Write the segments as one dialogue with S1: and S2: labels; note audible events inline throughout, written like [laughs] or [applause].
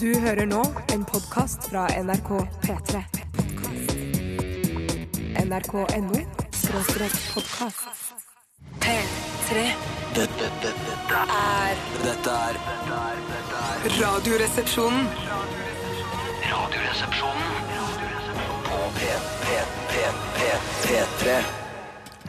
S1: Du hører nå en podkast fra NRK P3. NRK.no skråstrek podkast. P3.
S2: Dette, dette, dette,
S1: er
S2: dette er dette er- dette er
S1: Radioresepsjonen.
S2: Radioresepsjonen Radioresepsjonen. på P, P, P, P, P3.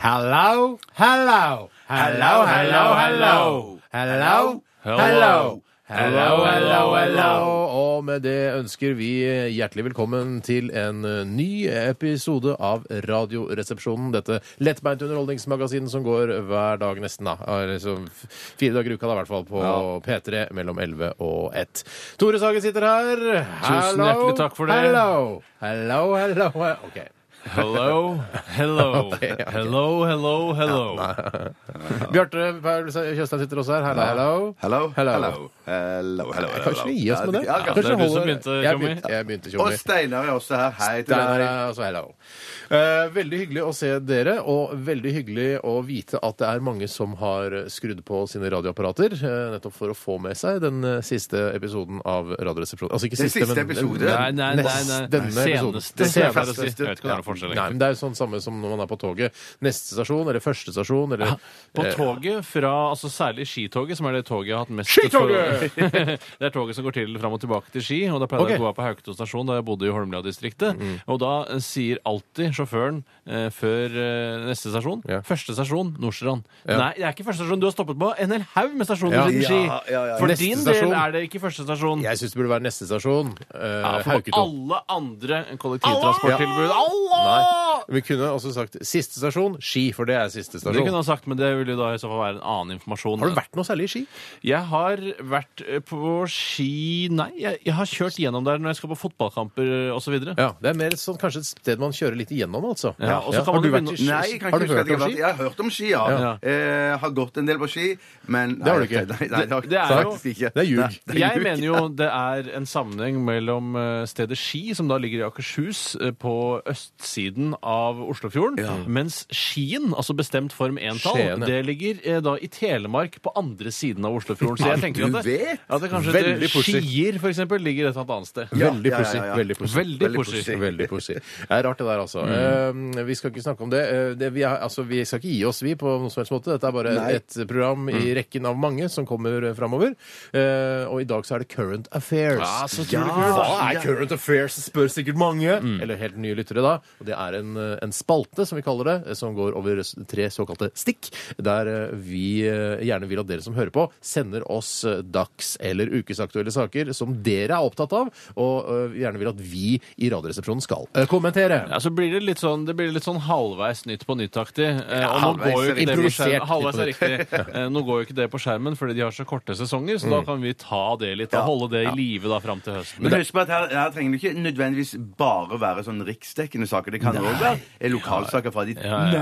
S3: Hello, hello, hello, hello, hello. Hello, hello. Hello, hello, hello.
S4: Og med det ønsker vi hjertelig velkommen til en eh, ny episode av Radioresepsjonen. Dette lettbeinte underholdningsmagasinet som går hver dag nesten, da. Altså, f- fire dager i uka, da, i hvert fall, på P3 mellom 11 og 1. Tore Sagen sitter her. Hello,
S3: hjertelig takk for det.
S4: Hello, hello, hello. he- Ok.
S3: Hello,
S4: [laughs]
S3: hello.
S4: Ok, ok.
S3: Hello, hello, hello.
S4: Bjarte Paul Tjøstheim sitter også her. Hello, hello.
S5: Hello,
S4: Hello.
S5: hello, hello, hello,
S4: Kan ikke vi gi oss med det?
S5: Ja, kanskje.
S3: det er du
S4: holder-
S3: som begynte,
S4: Jeg
S3: Tjommi.
S4: begynte- Jeg begynte,
S5: Og
S4: Tjommi.
S5: Steinar er også her. Hei til
S4: Der,
S5: deg.
S4: altså, hello. Eh, veldig hyggelig å se dere, og veldig hyggelig å vite at det er mange som har skrudd på sine radioapparater, eh, nettopp for å få med seg den eh, siste episoden av Radioresepsjonen. Altså ikke
S5: Den
S4: siste,
S5: siste
S4: men
S5: episoden.
S4: Nei,
S3: Nei, nei, nei, nei.
S4: Nest- denne episoden.
S3: Seneste.
S4: Det seneste.
S3: pleier å si. Jeg vet ikke om det er noen forskjell.
S4: Nei,
S3: egentlig.
S4: men Det er jo sånn samme som når man er på toget. Neste stasjon, eller første stasjon, eller
S3: På
S4: eh,
S3: toget fra altså Særlig skitoget, som er det toget jeg har hatt mest
S4: Skitoget!
S3: [laughs] det er toget som går til fram og tilbake til Ski. Og da pleide
S4: Ok. Mm.
S3: jeg å gå av på Hauketo stasjon, da jeg bodde i Holmlia-distriktet. Og da eh, sier alltid sjåføren eh, før eh, neste stasjon
S4: Ja.
S3: Første stasjon, Nordstrand. Nei, det er ikke første stasjon. Du har stoppet på en hel haug med stasjoner
S4: Ja.
S3: siden Ski.
S5: Ja, ja, ja.
S3: For
S4: Neste
S3: din
S4: stasjon.
S3: del er det ikke første stasjon.
S4: Jeg syns det burde være neste stasjon. Eh,
S3: Ja, for
S4: Hauketo.
S3: alle andre kollektivtransporttilbud
S4: Nei. Vi kunne også sagt siste stasjon, Ski, for det er siste
S3: Det kunne
S4: stasjon.
S3: han sagt, men det ville jo da i så fall være en annen informasjon.
S4: Har du vært noe særlig i Ski?
S3: Jeg har vært eh, på ski Nei, jeg, jeg har kjørt gjennom der når jeg skal på fotballkamper eh, osv.
S4: Ja, Det er mer et sånn, kanskje et sted man kjører litt igjennom, altså.
S3: Ja, og så kan
S4: Har
S3: man
S4: du
S3: jo
S4: vært
S3: begynne-
S4: i ski?
S5: Nei, jeg kan
S4: Har
S5: ikke
S4: du
S5: huske at
S4: hørt
S5: jeg
S4: om
S5: har vært-
S4: ski?
S5: Jeg har hørt om ski, ja.
S3: Ja.
S5: Eh, har gått en del på ski, men
S4: har du ikke.
S5: Nei, nei, det har
S3: Det- det er
S5: jeg
S3: jo-
S5: faktisk ikke.
S4: det er ljug.
S5: Nei,
S3: Jeg
S5: ljug.
S3: mener jo det er en sammenheng mellom eh, stedet Ski, som da ligger i Akershus, eh, på østsiden av Oslofjorden, mens Skien, altså bestemt form
S4: Skien,
S3: entall,
S4: ja.
S3: det ligger eh, da i Telemark på andre siden av Oslofjorden. Så jeg tenker
S5: du
S3: at det,
S5: vet.
S3: at det kanskje
S4: Veldig
S3: det,
S4: pussy.
S3: Skier, for eksempel, ligger et eller annet annet sted.
S5: Ja,
S4: Veldig
S5: ja, ja,
S4: pussig.
S5: ja.
S4: Veldig pussy.
S3: Veldig
S5: Veldig Mm.
S3: pussy.
S5: pussy.
S4: Veldig pussig. Det er rart, det der, altså. Eh, vi skal ikke snakke om det. Eh, det vi, er, altså, vi skal ikke gi oss, vi, på noen som helst måte. Dette er bare et program
S5: Mm.
S4: i rekken av mange som kommer eh, framover. Eh, og i dag så er det Current Affairs.
S5: Ah,
S3: Ja, så
S4: Ja, Hva er Mm. Current Affairs? spør sikkert mange. Eller helt nye lyttere, da. Og det er en, eh, en spalte, som vi kaller det, eh, som går over s- tre såkalte stikk, der eh, vi eh, gjerne vil at dere som hører på, sender oss eh, dags- eller ukesaktuelle saker som dere er opptatt av, og eh, gjerne vil at vi i Radioresepsjonen skal eh, kommentere.
S3: Ja, så blir det litt sånn, det blir litt sånn halvveis Nytt på Nytt-aktig. Eh, og nå
S5: halvveis
S3: går jo
S5: er
S3: ikke det på
S4: improvisert
S3: skjermen. Halvveis er
S4: Nytt
S3: riktig. Eh, nå går jo ikke det på skjermen fordi de har så korte sesonger, så da kan vi ta det litt og holde det i live da fram til høsten.
S5: Men husk på at her, her trenger det ikke nødvendigvis bare være sånn riksdekkende saker. Det kan òg være eh, lokalsaker fra ditt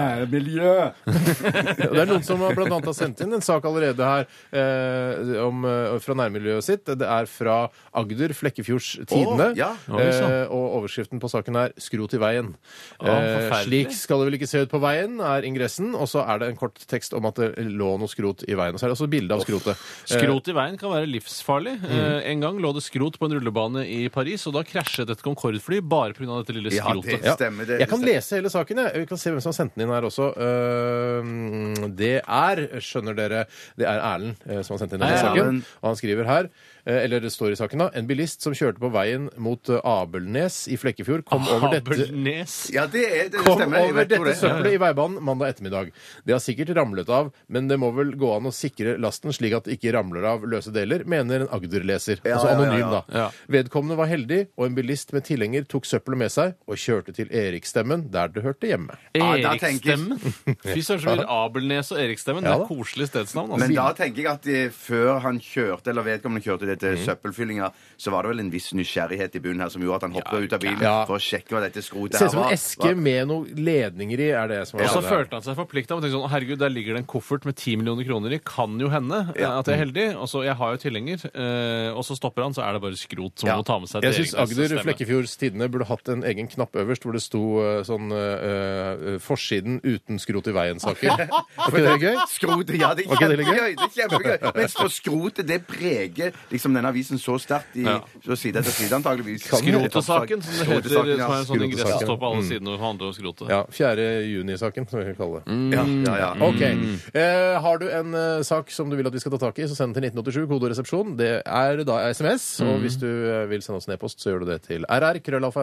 S5: nærmiljø.
S4: Og Det er noen som har blant annet har sendt inn en sak allerede her eh, om, eh, fra nærmiljøet sitt. Det er fra Agder, Flekkefjords Tidende.
S5: Å, ja.
S3: Oi, sann.
S4: eh, og overskriften på saken er 'Skro til veien'.
S3: forferdelig.
S4: eh, slik skal det vel ikke se ut på veien, er ingressen. Og så er det en kort tekst om at det lå noe skrot i veien. Og så er det også bilde av skrotet.
S3: Skrot
S5: Eh,
S3: i veien kan være livsfarlig.
S5: Mm.
S3: Eh, en gang lå det skrot på en rullebane i Paris, og da krasjet et Concorde-fly bare pga. dette lille
S5: Ja,
S3: skrotet.
S5: det
S4: Ja.
S5: stemmer. Det,
S4: jeg kan lese hele saken. Jeg. Vi kan se hvem som har sendt den inn her også. Eh, Det er, skjønner dere, det er Erlend eh, som har sendt inn denne
S3: Hei,
S4: saken.
S5: Erlend.
S4: Og han skriver her, eh, eller det står i saken da, en bilist som kjørte på veien mot eh, Abelnes i Flekkefjord, kom
S5: Ah,
S4: over dette
S3: Abelnes.
S5: Ja, det, er, det
S4: Kom
S5: stemmer. Jeg
S4: over
S5: vet hvor
S4: dette
S5: det er.
S4: søppelet i veibanen mandag ettermiddag. Det har sikkert ramlet av, men det må vel gå an å sikre lasten slik at det ikke ramler av løse deler, mener en Agder-leser.
S5: Ja,
S4: altså
S5: ja, ja,
S4: anonym,
S5: ja.
S4: da.
S3: Ja.
S4: Vedkommende var heldig, og en bilist med tilhenger tok søppelet med seg og kjørte til Eriksstemmen, der det hørte hjemme.
S5: Ja, da tenker-
S3: Eriksstemmen? Fy søren, så blir Abelnes og Eriksstemmen.
S4: Ja,
S3: det
S4: da.
S3: er koselig stedsnavn.
S5: Men
S3: Altså.
S5: da tenker jeg at eh, før han kjørte, eller vedkommende kjørte dette søppelfyllinga, så var det vel en viss nysgjerrighet i bunnen her som gjorde at han hoppa ut av bilen
S4: Ja.
S5: for å sjekke hva dette skrotet
S4: Ser
S5: her
S4: ut som
S5: var.
S4: en eske med noen ledninger i, er det som
S3: Og
S4: var
S3: så følte han seg forplikta. Sånn, herregud, der ligger det en koffert med 10 millioner kroner i. Kan jo hende eh,
S5: Ja. Mm.
S3: at jeg er heldig. Og så, jeg har jo tilhenger. eh, Og så stopper han, så er det bare skrot som
S5: Ja.
S3: må ta med seg altså,
S4: Jeg syns
S3: Eriksstemmen.
S4: Agder Flekkefjords Tidende burde hatt en egen knapp øverst hvor det sto eh, sånn eh, eh, forsiden uten skrot i
S5: [laughs]
S4: veien-saker. Var ikke det gøy?
S5: Skrotet, ja, det er
S4: Var ikke det litt
S5: kjempegøy! det er kjempegøy Men så skrotet, det preger liksom denne avisen så sterkt i så side etter side, antageligvis.
S3: Skrotesaken, som det heter. Som
S5: Skrotesaken, ja. Mm.
S3: er en sånn ingress som
S4: Skrotesaken.
S3: står på alle sidene og handler om skrotet.
S4: Ja, 4. juni-saken, som vi kan kalle det.
S3: Mm.
S5: Ja, ja, ja.
S4: Mm.
S5: Mm.
S4: Ok. Eh, har du en eh, sak som du vil at vi skal ta tak i, så send den til 1987, kodoresepsjon. Det er da SMS.
S3: Mm.
S4: Og hvis du eh, vil sende oss en e-post, så gjør du det til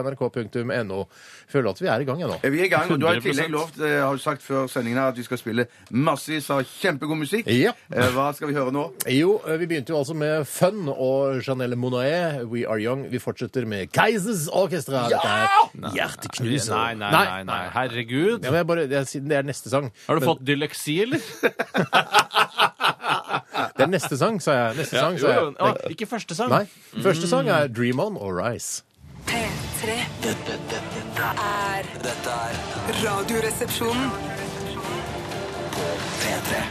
S4: rrkrøllalfa.nrk.no. Føler at vi er i gang ennå.
S5: Eh, Vi er i gang, og du har i
S3: 100%
S5: tillegg lovt eh, har du sagt før sendingen her, at vi skal spille massevis av kjempegod musikk.
S4: Ja.
S5: Eh, Hva skal vi høre nå?
S4: Jo, eh, vi begynte jo altså med Fun og Janelle Monae, We Are Young. Vi fortsetter med Keisers Orkestra. Dette er hjerteknuser.
S3: Nei, nei, nei, nei. Herregud.
S4: Ja, men jeg bare, jeg, siden det er neste sang
S3: Har du
S4: men-
S3: fått dyleksi, eller?
S4: [laughs] Det er neste sang, sa jeg. Neste sang, sa
S3: Jo, jo.
S4: jeg.
S3: Ah, ikke første sang.
S4: Nei. Første sang er Dream On og Rise.
S1: P3
S2: Dette, dette, dette,
S1: er
S2: dette er
S1: Radioresepsjonen.
S2: P3.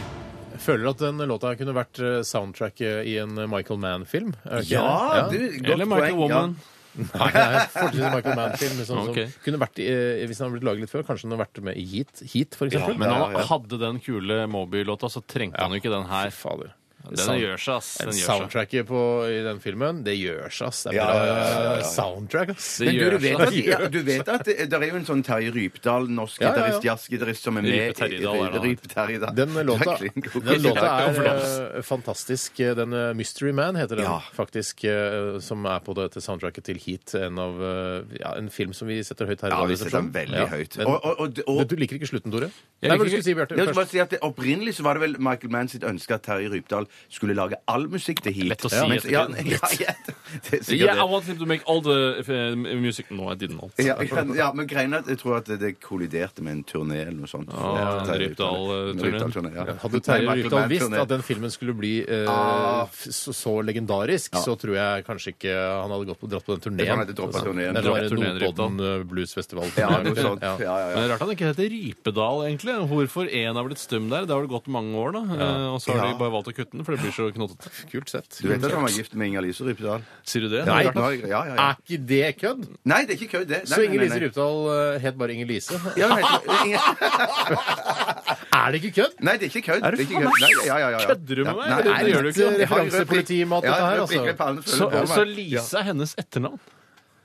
S4: Jeg føler at den låta kunne vært eh, soundtracket i en eh, Michael Mann-film. er det ikke
S5: Ja,
S4: det?
S5: du, godt
S3: Eller Michael
S5: poeng, ja.
S3: Woman.
S4: [laughs] Nei, nei, fortsatt en Michael Mann-film. Sånn, som
S3: Ok.
S4: kunne vært i, eh, hvis den hadde blitt laget litt før, kanskje den hadde vært med i Heat, Heat for eksempel.
S3: Men
S5: Ja, ja.
S3: han hadde den kule Moby-låta, så trengte han jo ikke den her.
S4: Fy fader.
S3: Den gjør seg, ass. Den gjør seg.
S4: Soundtracket på, i den filmen, det gjør seg, ass. Det er
S5: Ja,
S4: bra eh,
S5: ja, ja, ja, ja.
S4: soundtrack, ass.
S3: Det
S5: Men du, du,
S3: gjør
S5: vet
S3: seg.
S5: at, ja, du vet at det, det er jo en sånn Terje Rypdal,
S4: Ja,
S5: norsk
S4: ja, ja.
S5: gitarrist, jazzgitarrist, som er med
S3: Rype Terjedal er det han
S5: Rype Terjedal.
S4: Den låta,
S5: Det er klin god.
S4: den låta er
S3: Overlast.
S4: eh, fantastisk. Den eh, Mystery Man heter den
S5: Ja.
S4: faktisk, eh, som er på dette soundtracket til Heat. En, av, eh, ja, en film som vi setter høyt her. i
S5: Ja, vi
S4: radioresepsjonen.
S5: setter den veldig
S4: Ja.
S5: høyt.
S4: Men-
S5: Og, og, og, og,
S4: Men du liker ikke slutten, Tore?
S3: Jeg
S4: Nei, hva
S3: liker
S4: skulle du si, Bjarte?
S5: jeg vil bare
S4: først?
S5: si at det, Opprinnelig så var det vel Michael Mann sitt ønske at Terje Rypdal skulle lage all musikk til hit.
S3: Lett å si
S5: mens-
S3: etter
S5: ja,
S3: det.
S5: ja, [laughs] ja, det er sikkert
S3: Yeah, I
S5: det.
S3: want him to make all the uh, music No, I didn't want.
S5: Ja, ja, ja, men greien er at jeg tror at det kolliderte med en turné eller noe sånt.
S3: Ah,
S5: Terje
S3: Rypdal,
S5: Rypdal-
S3: eh, turné.
S5: Rypdal-turné, ja.
S4: Hadde Terje
S5: Nei, Michael
S4: Rypdal
S5: Mann Ah.
S4: visst
S5: turné.
S4: at den filmen skulle bli eh, f- så, så legendarisk, så tror jeg kanskje ikke han hadde gått på, dratt på den turneen.
S5: Jeg tror han hadde droppet turneen.
S4: Det var
S3: Droppet turneen,
S4: Notodden eh, Blues Festival.
S5: Ja, noe
S4: [laughs]
S5: sånt. Ja, ja, ja.
S3: Men det er Rart han ikke heter Rypedal, egentlig. Hvorfor én har blitt stum der? Det har det gått mange år, da. Eh, Og så har
S5: Ja.
S3: de bare valgt å kutte den, for det blir så knotete.
S4: Kult sett.
S5: Du vet at han var gift med Inger-Lise Rypdal?
S3: Sier du det?
S5: Nei,
S3: Det er rart, da.
S5: ja, ja, ja.
S4: Er ikke det kødd?
S5: Nei, det er ikke kødd, det. Nei,
S4: Ah. Så
S5: nei, nei,
S4: Inger-Lise
S5: nei.
S4: Rypdal eh, het bare Inger-Lise.
S5: Ja, men heter- Inger-
S4: Er det ikke kødd?
S5: Nei, det er ikke kødd.
S3: Er du
S5: det ikke
S3: faen
S5: kødd.
S3: meg
S5: Nei, ja, ja, ja, ja.
S3: Kødder du med meg?
S5: Nei,
S3: Det- det
S5: nei,
S3: gjør du ikke.
S5: nei,
S4: litt referansepolitimat,
S5: Ja,
S4: dette her,
S5: jeg prikker
S4: altså.
S5: pallen, føler
S3: Så,
S5: på meg.
S3: så Lise er hennes etternavn?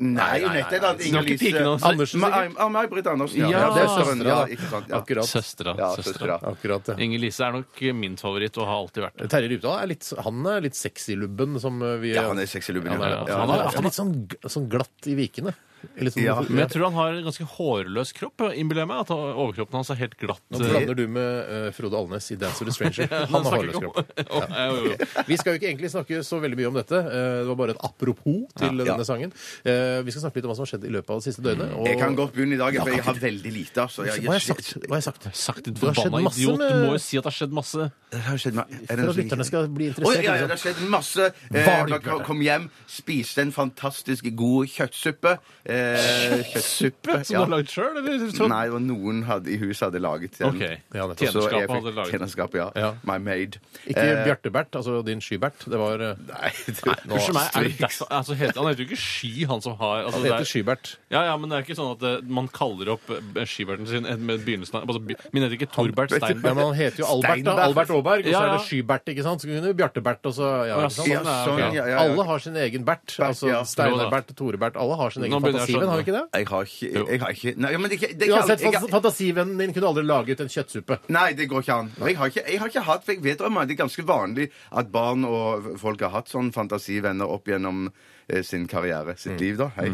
S5: Nei, nettopp. at
S3: Snakker
S5: Inger-Lise
S3: piken også?
S4: Andersen, sikkert.
S5: May-Britt Andersen.
S3: Ja,
S5: det er
S3: søstera,
S5: søsteren. Ja, ikke sant. Ja.
S4: Akkurat.
S3: Søstera.
S5: Ja,
S3: søstera.
S5: søstera.
S4: Akkurat det.
S3: Inger Lise er nok min favoritt og har alltid vært det.
S4: Terje Rypdal er litt, han er litt sexy-lubben som eh, vi
S5: Ja, han er sexy lubben.
S4: Han er,
S5: Ja, ja,
S4: han er
S5: ja.
S4: ofte litt sånn, g- sånn glatt i vikene. Litt sånn,
S5: Ja.
S3: Men jeg tror han har en ganske hårløs kropp. innbiller jeg meg, at Overkroppen hans er helt glatt.
S4: Nå
S3: [laughs]
S4: blander du med eh, Frode Alnes i 'Dance with a Stranger'. [laughs] Han har hårløs kropp.
S3: [laughs] kropp.
S4: Vi skal jo ikke egentlig snakke så veldig mye om dette. Eh, Det var bare et apropos til eh,
S5: Ja.
S4: denne sangen. Eh, Vi skal snakke litt om hva som har skjedd i løpet av det siste døgnet. og-
S5: Jeg kan godt begynne i dag, for jeg har veldig lite. Altså.
S4: Hva
S5: Jeg,
S4: har jeg sagt? Hva har jeg sagt?
S3: Sagt din
S4: Det har skjedd
S3: forbanna
S4: masse
S3: idiot. Du
S4: med-
S3: må jo si at det har skjedd masse.
S5: det har skjedd meg. Er det
S4: For
S5: noe
S4: at
S5: som-
S4: lytterne skal bli
S5: Oi,
S4: interessert.
S5: ja, ja, det
S4: liksom.
S5: har skjedd masse.
S4: Var det
S5: Eh, man
S4: ikke
S5: kom-
S4: det?
S5: kom hjem, spiste en fantastisk god kjøttsuppe. Eh, kjøttsuppe?
S3: Som du har sånn? lagd sjøl, eller?
S5: Nei, og noen hadde, i huset hadde laget den.
S3: Ok.
S4: Ja, nettopp.
S5: Så jeg
S3: Tjenerskapet
S5: fikk
S3: hadde laget
S5: Tjenerskap, ja.
S4: Ja.
S5: My maid.
S4: Ikke Bjarte-Bert, altså din Skybert. Det var eh,
S5: Eh, Nei, du,
S4: nå-
S3: Unnskyld meg, er det derfor, altså, heter, Han heter jo ikke Sky, han som har altså,
S4: Han
S3: det er-
S4: heter Skybert.
S3: Ja, ja, men det er ikke sånn at eh, man kaller opp eh, Skyberten sin med begynnelsen av altså, by- Min heter ikke Torbert Steinberg.
S4: Ja, men han heter jo Albert, da.
S5: Steinberg.
S4: Albert Aaberg. Og så
S3: Ja,
S4: er
S3: ja.
S4: det Skybert, ikke sant. Så kunne det Bjarte-Bert, og så ja,
S3: Ja,
S4: ikke sant?
S5: Ja, sånn, ja, ja, ja.
S4: Alle har sin egen Bert. Altså
S5: ja.
S4: Steinar-Bert, Tore-Bert. Alle har sin egen
S3: Nå begynner jeg
S4: fantasi,
S3: å
S4: men har vi ikke det?
S5: Jeg har ikke, jeg har ikke Nei, men det, er ikke- det, er ikke alle-
S4: Uansett,
S5: jeg,
S4: fant- fantasivennen din kunne aldri laget en kjøttsuppe.
S5: Nei, det går ikke an. Jeg har ikke, jeg har ikke hatt for jeg vet om at Det er ganske vanlig at barn og folk har hatt sånn fantasivenner opp gjennom eh, sin karriere.
S4: Mm.
S5: Sitt liv, da. Hei.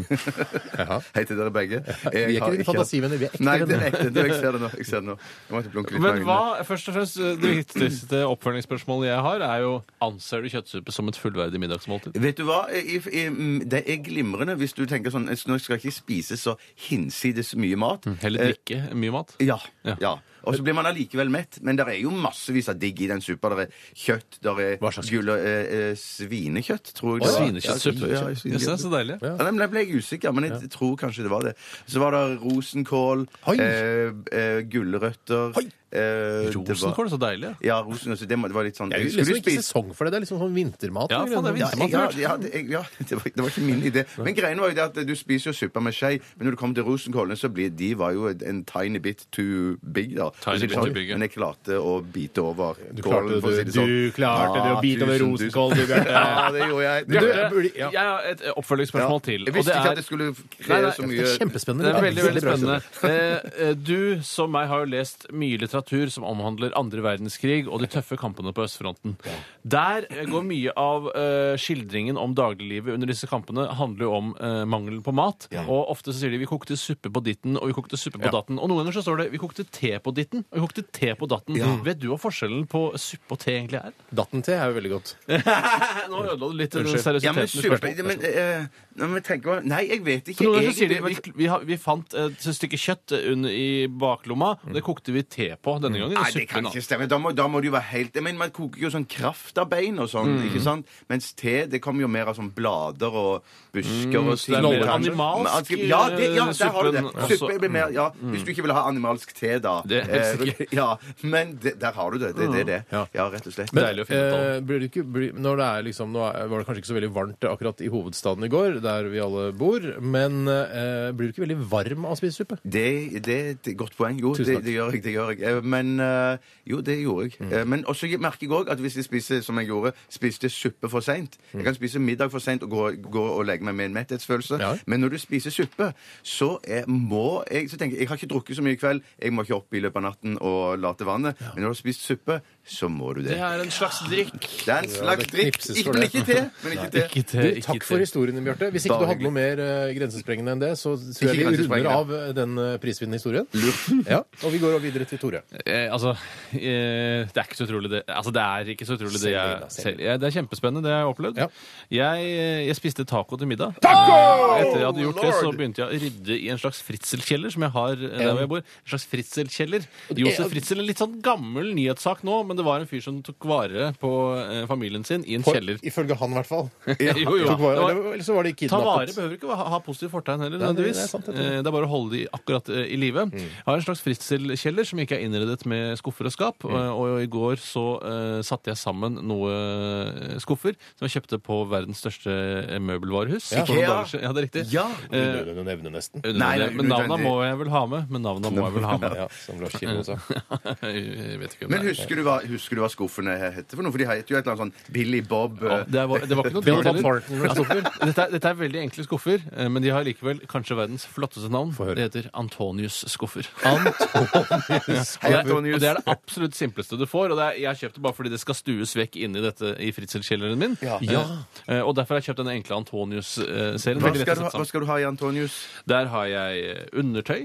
S5: [laughs] Hei til dere begge.
S4: Vi er ikke fantasivenner, vi er ekte
S5: Nei, det er
S4: venner.
S5: ekte. Du, jeg ser det nå. Jeg ser det nå. Jeg måtte blunke litt
S3: Men
S5: med øynene.
S3: hva, først og fremst, eh, det viktigste oppfølgingsspørsmålet jeg har, er jo Anser du kjøttsuppe som et fullverdig middagsmåltid?
S5: Vet du hva? I- i- mm, Det er glimrende hvis du tenker
S4: Mm,
S5: sånn Nå skal jeg ikke spise så hinsides mye mat.
S3: Eller drikke mye mat?
S5: Ja.
S3: Eh, Ja.
S5: ja. Og så blir man allikevel mett. Men det er jo massevis av digg i den suppa. Det er kjøtt, det er
S4: Hva slags kjøtt?
S5: gull og eh, eh, svinekjøtt, tror jeg. det var.
S3: Svinekjøttsuppe.
S5: Ja,
S3: Yes, det er så deilig.
S5: ja, nei, men Jeg ble jeg usikker, men jeg tror kanskje det var det. Så var det rosenkål,
S4: Oi.
S5: eh, eh, gulrøtter
S4: Oi.
S5: eh, det var-
S3: Rosenkål, så deilig.
S5: Ja, rosenkål. Så det, må- det var litt sånn
S4: Det er jo
S5: Skulle
S4: liksom ikke
S5: spise-
S4: sesong for det. Det er liksom sånn vintermat.
S3: Ja,
S4: og
S3: faen, det er
S4: greier.
S3: vintermat.
S5: Ja, ja, det, jeg- ja [laughs] det, var, det var ikke min idé. Men greien var jo det at du spiser jo suppa med skje, men når du kommer til rosenkålene, så blir de var jo en tiny bit too big, da. For å si det
S3: bit
S5: sånn.
S3: too big, ja.
S5: Men jeg klarte å bite over
S4: Du klarte,
S5: kålen, for å si det
S4: det,
S5: sånn.
S4: du klarte det å bite over
S5: tusen, tusen-
S4: rosenkål, du, Bjarte.
S5: [laughs] Ja, det gjorde jeg.
S4: Du,
S5: Det-
S4: jeg burde- ja.
S3: Jeg har et
S5: ja.
S3: oppfølgingsspørsmål til.
S5: Jeg
S3: og
S5: visste
S3: det
S5: ikke
S3: er-
S5: at det skulle
S3: Nei, nei,
S5: kreve så
S4: Det er
S5: mye
S4: kjempespennende.
S3: Det er veldig, veldig
S4: bra
S3: spennende. Eh, eh, Du, som meg, har jo lest mye litteratur som omhandler andre verdenskrig og de tøffe kampene på østfronten. Der eh, går mye av eh, skildringen om dagliglivet under disse kampene handler jo om eh, mangelen på mat. Og ofte så sier de 'vi kokte suppe på ditten', og 'vi kokte suppe på datten'. Og noen ganger så står det 'vi kokte te på ditten', og 'vi kokte te på datten'. Vet du hva forskjellen på suppe og te egentlig
S5: [laughs]
S3: er?
S4: Datten-te er jo veldig godt.
S3: Nå ødela du litt den
S4: Unnskyld.
S5: ja,
S3: seriøsiteten
S5: men,
S3: i
S5: suppe,
S3: spørsmålet.
S5: men, eh, nei, men tenk meg- Nei, jeg vet ikke.
S3: For noen ganger så sier de
S5: egentlig, men-
S3: vi, vi, har- vi fant et stykke kjøtt eh, under, i baklomma, og det kokte vi te på denne gangen.
S5: Mm. Nei,
S3: i
S5: det
S3: suppen,
S5: kan
S3: da.
S5: ikke stemme. Da må, da må det jo være helt Men man koker jo sånn kraft av bein og sånn,
S3: Mm.
S5: ikke sant? Mens te, det kommer jo mer av sånn blader og busker og
S3: så det er
S5: ting.
S3: mer Mm. animalsk, eh,
S5: Ja, det, ja, der har du det.
S3: suppen,
S5: Suppe
S3: altså.
S5: blir mer Ja, hvis du ikke vil ha animalsk te, da. Eh,
S3: Det er sikkert.
S5: ja, men det, der har du det. Det er det, det.
S4: Ja.
S5: Ja, rett og slett.
S4: Men,
S3: Deilig å finne ut av.
S4: eh, blir det ikke, blir, når det er liksom, nå er- var det kanskje ikke så veldig varmt akkurat i hovedstaden i går, der vi alle bor, men eh, blir du ikke veldig varm av å spise suppe?
S5: Det, det er et godt poeng. Jo,
S4: Tusen
S5: det,
S4: takk.
S5: det gjør jeg. det gjør jeg. Eh, Men eh, Jo, det gjorde jeg. Eh, Men også jeg merker jeg òg at hvis jeg spiser som jeg gjorde, spiste suppe for seint Jeg kan spise middag for seint og gå, gå og legge meg med en metthetsfølelse.
S4: Ja.
S5: Men når du spiser suppe, så er, må jeg så tenker jeg, jeg har ikke drukket så mye i kveld, jeg må ikke opp i løpet av natten og late vannet. Men når du har spist suppe, så må du det.
S3: Det er en slags drikk.
S5: Det er en slags
S4: det
S5: drikk.
S4: knipses
S5: Ikke,
S4: for
S5: men
S4: det.
S5: ikke te. Men ikke te.
S3: Ikke te,
S4: Du,
S3: Eh, ikke
S4: takk
S3: te.
S4: for historien, Bjarte. Hvis ikke
S5: Bare
S4: du hadde noe mer eh, grensesprengende enn det, så tror jeg
S5: Ikke
S4: vi runder
S5: grensesprengende.
S4: av eh, den eh, prisvinnende historien. [laughs] Ja, og vi går over videre til Tore.
S3: Eh, altså, eh, det er ikke så utrolig det Altså, det er ikke så utrolig det
S4: Selv
S3: jeg
S4: inn, da, selv
S3: selv. Ja, det er kjempespennende, det jeg har opplevd.
S4: Ja.
S3: Jeg, eh, jeg spiste taco til middag. Etter jeg hadde gjort det, så begynte jeg å rydde i en slags fritzelkjeller som jeg har eh, der hvor jeg bor. En slags fritzelkjeller. Josef Fritzel, en litt sånn gammel nyhetssak nå, men det var en fyr som tok vare på eh, familien sin i en
S4: For-
S3: kjeller.
S4: Ifølge han, i hvert fall.
S3: [laughs] Jo, jo.
S4: Tok vare-
S3: Det var-
S4: eller- Eller så var de
S3: Ta vare
S4: kidnappet.
S3: behøver ikke ha, ha positivt fortegn heller,
S4: Nei, det-
S3: nødvendigvis.
S4: det er
S3: Det,
S4: sant, Mm. jeg tror det.
S3: eh, det er bare å holde de akkurat eh, i live. Jeg har en slags fritzelkjeller som ikke er innredet med skuffer og skap.
S4: Mm.
S3: eh, Og i går så eh, satte jeg sammen noe eh, skuffer som jeg kjøpte på verdens største eh, møbelvarehus.
S4: Ja.
S3: for noen
S5: Ikea.
S3: dager siden. Ja, det er riktig.
S5: Ja.
S3: Eh,
S4: Unødvendig å nevne, nesten.
S5: Nei, nei,
S3: men navna
S5: unødvendig.
S3: må jeg vel ha med. Men navna må jeg vel ha med.
S4: [laughs] Ja, som Lars Kino sa.
S3: [laughs] jeg vet ikke hvem
S5: Men
S3: det er.
S5: husker du hva, husker du hva skuffene heter for noe? For de heter jo et eller annet sånn Billy Bob eh,
S3: Ja, Det var, det var ikke noe
S4: Bill
S3: dyrt
S4: Bob
S3: heller.
S4: Thornton med
S3: Altså, [laughs] dette, er, dette er veldig enkle skuffer, eh, men de har likevel kanskje verdens flotteste navn.
S4: høre.
S3: Det heter Antonius-skuffer.
S5: Hei,
S3: Og det-
S5: Antonius.
S3: Og det er det absolutt simpleste du får. Og det er, jeg har kjøpt det bare fordi det skal stues vekk inni dette i fritzelkjelleren min. Eh, eh, og derfor har jeg kjøpt denne enkle Antonius-serien.
S5: Hva skal, du ha, hva skal du ha i Antonius?
S3: sånn. Der har jeg eh, undertøy.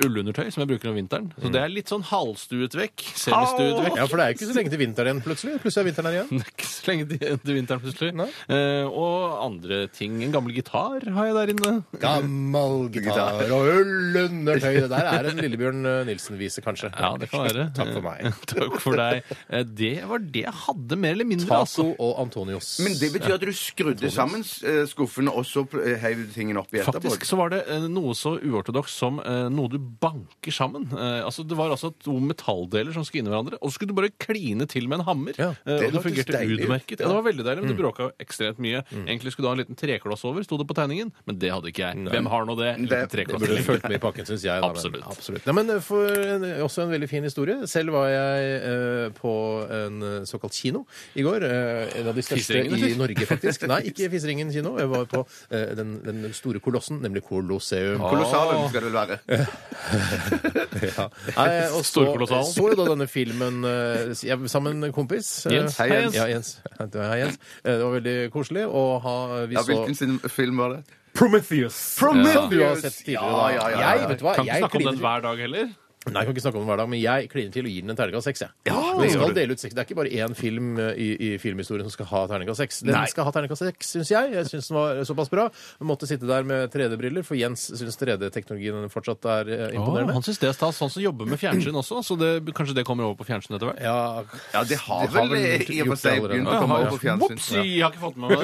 S3: Ullundertøy som jeg bruker om vinteren.
S5: Mm.
S3: Så det er litt sånn halvstuet vekk. Semistuet vekk. [laughs]
S4: Ja, for det er jo ikke så lenge til vinteren igjen, plutselig. Plutselig er vinteren her igjen.
S3: Det er Ikke så lenge til- til vinteren, plutselig.
S4: Nei.
S3: Eh, og andre ting. En gammel gitar har jeg der inne.
S4: Gammel
S3: [laughs]
S4: gitar og ullundertøy. Det der er en Lillebjørn eh, Nilsen-vise, kanskje.
S3: Ja, det kan være.
S4: [laughs] Takk for meg.
S3: Eh, [laughs] Takk for deg. Eh, Det var det jeg hadde, mer eller mindre.
S4: Taco
S3: altså.
S4: og Antonios.
S5: Men det betyr at du skrudde sammen eh, skuffene, og så pl- eh, heiv du tingene opp i etterpå?
S3: Faktisk så var det eh, noe så uortodoks som eh, noe du banker sammen. Eh, altså, det var altså to metalldeler som skulle inn i hverandre, og så skulle du bare kline til med en hammer.
S4: Ja,
S3: eh,
S5: det
S3: og det
S5: hørtes
S3: fungerte
S5: deilig ut.
S3: utmerket. Ja, det var veldig deilig,
S4: Mm.
S3: men du bråka ekstremt mye. Egentlig skulle du ha en liten trekloss over, sto det på tegningen, men det hadde ikke jeg. Hvem har nå det? En
S5: Det-
S3: liten
S4: Det
S3: trekloss
S4: burde
S3: til.
S4: fulgt med i pakken, syns jeg. Da, men-
S3: Absolutt.
S4: Absolutt. Nei, men eh, for en, også en veldig fin historie. Selv var jeg eh, på en eh, såkalt kino i går. Eh, en av de største
S3: Fiseringen,
S4: i
S3: eller?
S4: Norge, faktisk. Nei, ikke Fiseringen kino. Jeg var på eh, den, den store kolossen, nemlig Colosseum.
S3: Ah,
S5: Kolossalen skal det vel være.
S3: [laughs]
S4: Ja. Nei, Eh, og så
S3: Storkolossal.
S4: så jo da denne filmen eh, jeg- sammen med en kompis. eh,
S3: Jens.
S5: Hei, Jens.
S4: Ja, Jens. [laughs] Hei, Jens. Eh, Det var veldig koselig. Og ha, eh, vi
S5: Ja,
S4: så
S5: hvilken sin film var det?
S4: Prometheus! Som du har sett tidligere.
S5: Ja, ja, ja,
S4: da.
S5: ja, ja.
S4: Jeg, vet du hva,
S3: Kan ikke
S4: jeg
S3: snakke om
S4: kliner
S3: den hver dag heller.
S4: Nei, jeg kan ikke snakke om den hver dag, men jeg kliner til og gir den en terningkast seks. jeg. Men vi skal dele ut seks. Det er ikke bare én film eh, i, i filmhistorien som skal ha terningkast seks. Den
S3: Nei.
S4: skal ha terningkast seks, syns jeg. Jeg syns den var såpass bra. Jeg måtte sitte der med 3D-briller, for Jens syns 3D-teknologien fortsatt er eh,
S3: Å,
S4: imponerende.
S3: han syns det er stas. Han som jobber med fjernsyn også, så det, kanskje det kommer over på fjernsyn etter hvert.
S4: Ja,
S5: Ja, det har vel
S4: gjort-
S5: eh, i og for
S4: gjort det
S5: seg
S4: allerede.
S5: begynt å
S4: Ja,
S5: komme
S4: ja.
S5: over på fjernsyn.
S3: Opsi, jeg har ikke fått
S5: [laughs]
S3: med meg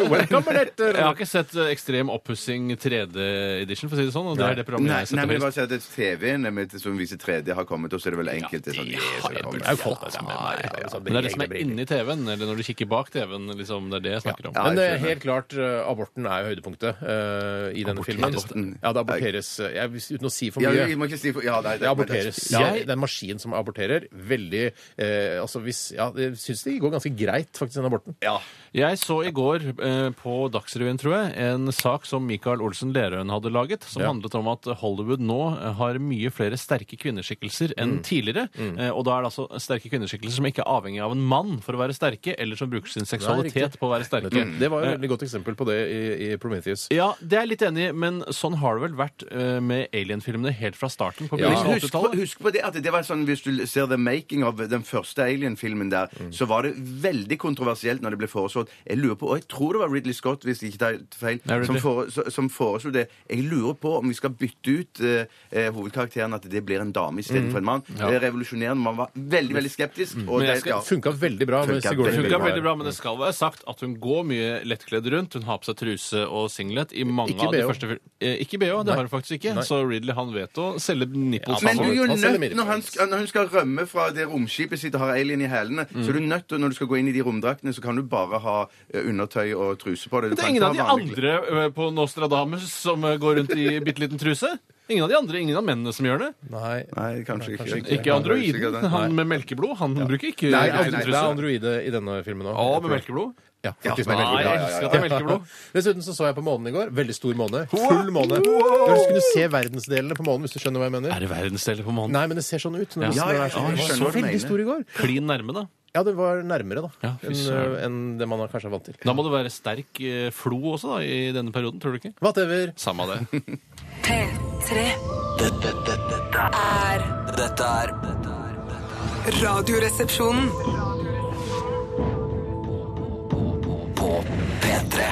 S3: det. Jeg har ikke sett eh, Ekstrem oppussing 3D-edition, for å si det sånn. Og det er det programmet
S5: Nei,
S3: jeg
S5: nei,
S3: setter
S5: men jeg
S3: høyest.
S5: bare sier at det er TV-en med- som viser 3D har kommet, og så er det vel enkelte sånn Jesus,
S4: Det
S5: kommer.
S4: er jo sånn folk som er med, ja, ja.
S3: Men det er det som er inni TV-en, eller når du kikker bak TV-en. Liksom, det er det jeg snakker om.
S5: Ja,
S4: Men
S5: jeg
S4: eh,
S5: skjønner.
S4: helt klart, eh, aborten er jo høydepunktet eh, i denne filmen.
S5: den?
S4: Ja, det aborteres eh, jeg, hvis- Uten å si for
S5: Ja,
S4: mye.
S5: jeg må ikke si for, ja, nei,
S4: Det aborteres.
S5: Ja,
S4: Ja, det er en maskin som aborterer. Veldig eh, Altså hvis Ja, jeg syns det går ganske greit, faktisk, den aborten.
S5: ja.
S3: Jeg så i går eh, på Dagsrevyen, tror jeg, en sak som Michael Olsen Lerøen hadde laget, som
S4: Ja.
S3: handlet om at Hollywood nå eh, har mye flere sterke kvinneskikkelser enn tidligere. Eh, og da er det altså sterke kvinneskikkelser som ikke er avhengig av en mann for å være sterke, eller som bruker sin seksualitet
S4: riktig.
S3: på å være sterke.
S4: Det var et veldig godt eksempel på det i, i Prometheus.
S3: Ja, det er jeg litt enig i, men sånn har det vel vært eh, med Alien-filmene helt fra starten på
S4: Ja.
S3: begynnelsen av
S5: Husk, på,
S3: 80-tallet.
S5: husk på det at det var sånn, Hvis du ser The Making of den første Alien-filmen der,
S3: Mm.
S5: så var det veldig kontroversielt når det ble foreslått. Jeg lurer på, og jeg tror det var Ridley Scott, hvis jeg ikke tar helt feil,
S3: Ja, Ridley.
S5: som, fore, så- som foreslo det. Jeg lurer på om vi skal bytte ut eh, eh, hovedkarakteren, at det blir en dame
S3: Mm.
S5: istedenfor en mann. Det er revolusjonerende. Man var veldig, veldig skeptisk. Og
S3: jeg
S5: det,
S3: skal-
S5: ja.
S4: Funka veldig bra med
S5: Funka
S4: Sigourney
S3: Det
S5: veldig
S3: funka
S4: Weaver.
S3: veldig bra, men det skal være sagt at hun går mye lettkledd rundt. Hun har på seg truse og singlet i mange
S4: Ikke
S3: av de
S4: BH.
S3: første fil- eh, Ikke BH, det har hun faktisk ikke.
S4: Nei.
S3: Så Ridley han vet å selge nipples.
S4: Ja,
S5: Men
S3: han
S5: du er jo
S4: Han selger
S5: nødt, når,
S4: middelpris.
S5: han skal, når hun skal rømme fra det romskipet sitt og har alien i hælene, så
S3: Mm.
S5: er du nødt til, når du skal gå inn i de romdraktene, så kan du bare ha eh, undertøy og truse på deg. Du
S3: det er
S5: kan
S3: ingen
S5: ikke
S3: av de
S5: ha vanlig-
S3: andre eh, på Nostradamus som eh, går rundt [laughs] i bitte liten truse. Ingen av de andre, ingen av mennene som gjør det.
S4: Nei.
S5: Nei, kanskje ikke.
S3: Ikke androiden.
S5: Sikkert det.
S3: Han med melkeblod. Han bruker ikke
S4: Nei,
S5: Nei,
S3: alltid
S4: nei, det er
S3: truse.
S4: androide i denne filmen òg.
S3: Å, med melkeblod?
S4: Ja, faktisk
S5: Ja,
S4: med
S3: Nei,
S4: melkeblod.
S3: jeg
S4: Ja, ja, ja.
S3: elsker at det er melkeblod.
S4: Dessuten så så jeg på månen i går. Veldig stor måne. Full måne. Du kunne se verdensdelene på månen, hvis du skjønner hva jeg mener.
S3: Er det verdensdeler på månen?
S4: Nei, men det ser sånn ut.
S3: Ja.
S4: Når du-
S3: Ja,
S4: når det
S5: ja,
S4: er sånn.
S5: ja, jeg
S4: Den var
S5: skjønner hva
S4: så
S5: du
S4: veldig
S5: mener.
S4: stor i går.
S3: Klin nærme, da.
S4: Ja, det var nærmere, da.
S3: Ja, fy
S4: enn, eh,
S3: søren.
S4: enn det man kanskje er vant til.
S3: Da må det være sterk eh, flo også da, i denne perioden, tror du ikke?
S4: Whatever.
S3: Samme det.
S1: P3
S2: Dette, dette, dette er-
S1: er
S2: dette er dette er- dette er
S1: Radioresepsjonen.
S2: På P3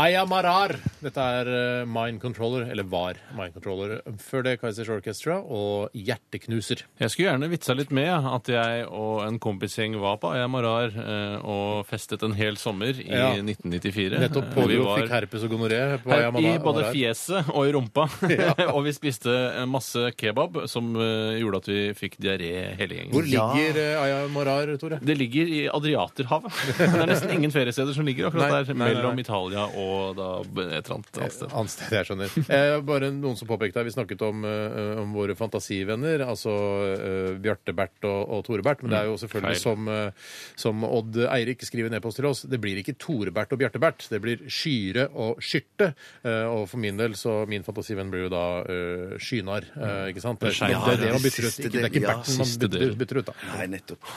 S4: Aya Marar. Dette er eh, Mind Controller, eller var Mind Controller. Før det Kaizers Orchestra og Hjerteknuser.
S3: Jeg skulle gjerne vitsa litt med at jeg og en kompisgjeng var på Aya Marar eh, og festet en hel sommer i
S4: Ja.
S3: 1994.
S4: Nettopp
S3: Eh,
S4: pådro
S3: vi var
S4: fikk herpes og gonoré på Aya
S3: her- I
S4: Mara-
S3: både
S4: Marar.
S3: fjeset og i
S4: [laughs]
S3: rumpa. [laughs] og vi spiste eh, masse kebab som eh, gjorde at vi fikk diaré hele gjengen.
S4: Hvor ligger eh, Aya Marar, Tore?
S3: Det ligger i Adriaterhavet.
S4: [laughs]
S3: Det er nesten ingen feriesteder som ligger akkurat
S4: Nei,
S3: der.
S4: nei, nei, nei.
S3: Mellom Italia og da et eller annet annet sted.
S4: Annet sted, jeg skjønner. Eh, bare noen som påpekte her, Vi snakket om, eh, om våre fantasivenner, altså eh, Bjarte Bert og, og Tore Bert. Men det er jo selvfølgelig
S3: feil.
S4: som, eh, som Odd Eirik skriver en e-post til oss, det blir ikke Tore Bert og Bjarte Bert. Det blir Skyre og Skyrte. Eh, og for min del, så min fantasivenn blir jo da eh, Skynar. Eh, ikke sant? Det,
S3: Skeinar,
S4: er- det er det
S5: ja.
S4: man bytter ut.
S5: Siste
S4: Ikke, det er
S5: del,
S4: ikke
S5: ja.
S4: Berten man
S3: Siste
S4: bytter,
S3: del.
S4: bytter ut, da.
S5: Nei, nettopp.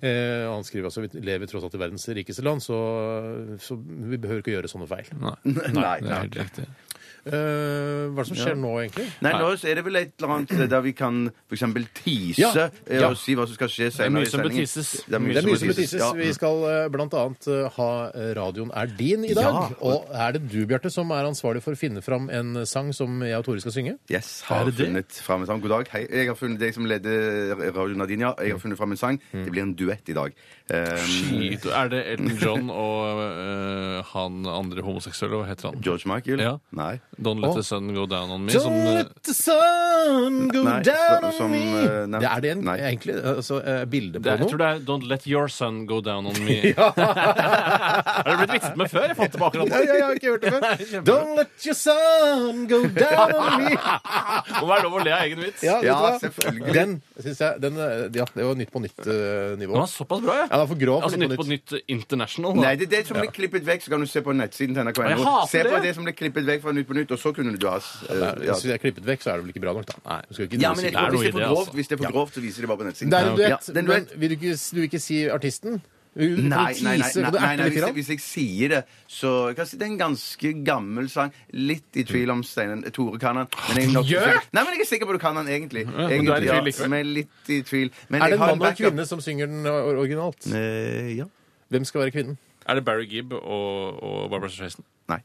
S4: Eh, han skriver altså vi lever tross alt i verdens rikeste land, så, så vi behøver ikke gjøre sånne feil.
S5: Nei, nei.
S3: Det er helt riktig.
S4: Eh, hva er det som skjer nå, egentlig?
S5: Nei, nå så er det vel et eller annet der vi kan f.eks. tise
S4: Ja,
S5: eh,
S4: ja.
S5: og si hva som skal skje
S3: er mye
S5: senere i
S3: som
S5: sendingen.
S3: betises.
S4: Det er mye som
S5: betises,
S4: betises. Vi skal eh, blant annet eh, ha eh, Radioen er din i dag.
S5: Ja.
S4: Og er det du, Bjarte, som er ansvarlig for å finne fram en sang som jeg og Tore skal synge?
S5: Yes, har
S3: det det?
S5: funnet fram en sang. God dag. Hei. Jeg har funnet deg som leder Radio Nadinia. Jeg har funnet fram en sang. Det blir en duett i dag. Um,
S3: Skyt. Er det Elton John og eh, han andre homoseksuelle? Hva heter han?
S5: George Michael?
S3: Ja.
S5: Nei.
S3: Don't let
S4: Å.
S3: the sun go down on me. Som,
S4: Don't
S3: eh,
S4: let the sun go
S5: Nei,
S4: down
S5: så-
S4: on
S5: som,
S4: me
S5: eh, nei.
S4: Det er det en,
S5: Nei.
S4: egentlig altså, eh, bilde
S3: det
S4: på
S3: er, jeg tror
S4: noe.
S3: det er Don't let your sun go down on
S4: [laughs]
S3: me. [laughs] Har det blitt vitset med før? Jeg fant det på akkurat
S4: Ja, ja,
S3: nå.
S4: jeg har ikke hørt det
S3: kjempebra.
S4: før. Don't let your sun go down on me.
S3: Må være lov å le av egen vits.
S4: Ja, vet du
S5: Ja,
S4: hva?
S5: selvfølgelig.
S4: Den, synes jeg, den, eh, ja, det var Nytt på nytt-nivå.
S3: Den var såpass bra,
S4: Ja, det var for grov for
S3: Altså Nytt på Nytt International. Da.
S5: Nei, det er det som ble klippet vekk, så kan du se på nettsiden til
S3: Å, jeg
S5: NRK.no.
S3: hater
S5: Se på
S3: det.
S5: det som ble klippet vekk fra Nytt på Nytt, og så kunne du ha s- eh,
S4: Nei,
S5: ja.
S4: Hvis det er klippet vekk, så er det vel ikke bra nok, da.
S3: Nei.
S4: Du skal ikke
S5: Ja,
S4: si
S5: men jeg
S3: Det er
S5: tror
S3: noe
S5: hvis
S3: i det,
S5: det er for grovt,
S3: altså.
S5: hvis det er for grovt, så viser de bare på nettsiden.
S4: Det er en
S5: Ja,
S4: duett,
S5: det er en
S4: men
S5: duett.
S4: vil du ikke, du ikke si artisten? Du kan
S5: Nei, nei, nei,
S4: tease,
S5: nei,
S4: kan du
S5: nei,
S4: erte
S5: nei
S4: litt
S5: hvis, jeg,
S4: grann?
S5: hvis jeg sier det, så jeg kan si, Det er en ganske gammel sang. Litt i tvil om Steinen Tore kan den. Men jeg, er nok,
S4: Gjør?
S5: nei, men jeg er sikker på at du kan den egentlig.
S3: men du er i
S5: egentlig
S3: tvil likevel.
S5: men jeg er litt i tvil. Men
S4: Er det
S5: jeg
S4: en mann
S5: har
S4: og en
S5: backup.
S4: kvinne som synger den or- originalt?
S5: Eh, ja.
S4: Hvem skal være kvinnen?
S3: Er det Barry Gibb og, og Barbara Streisand?
S5: Nei.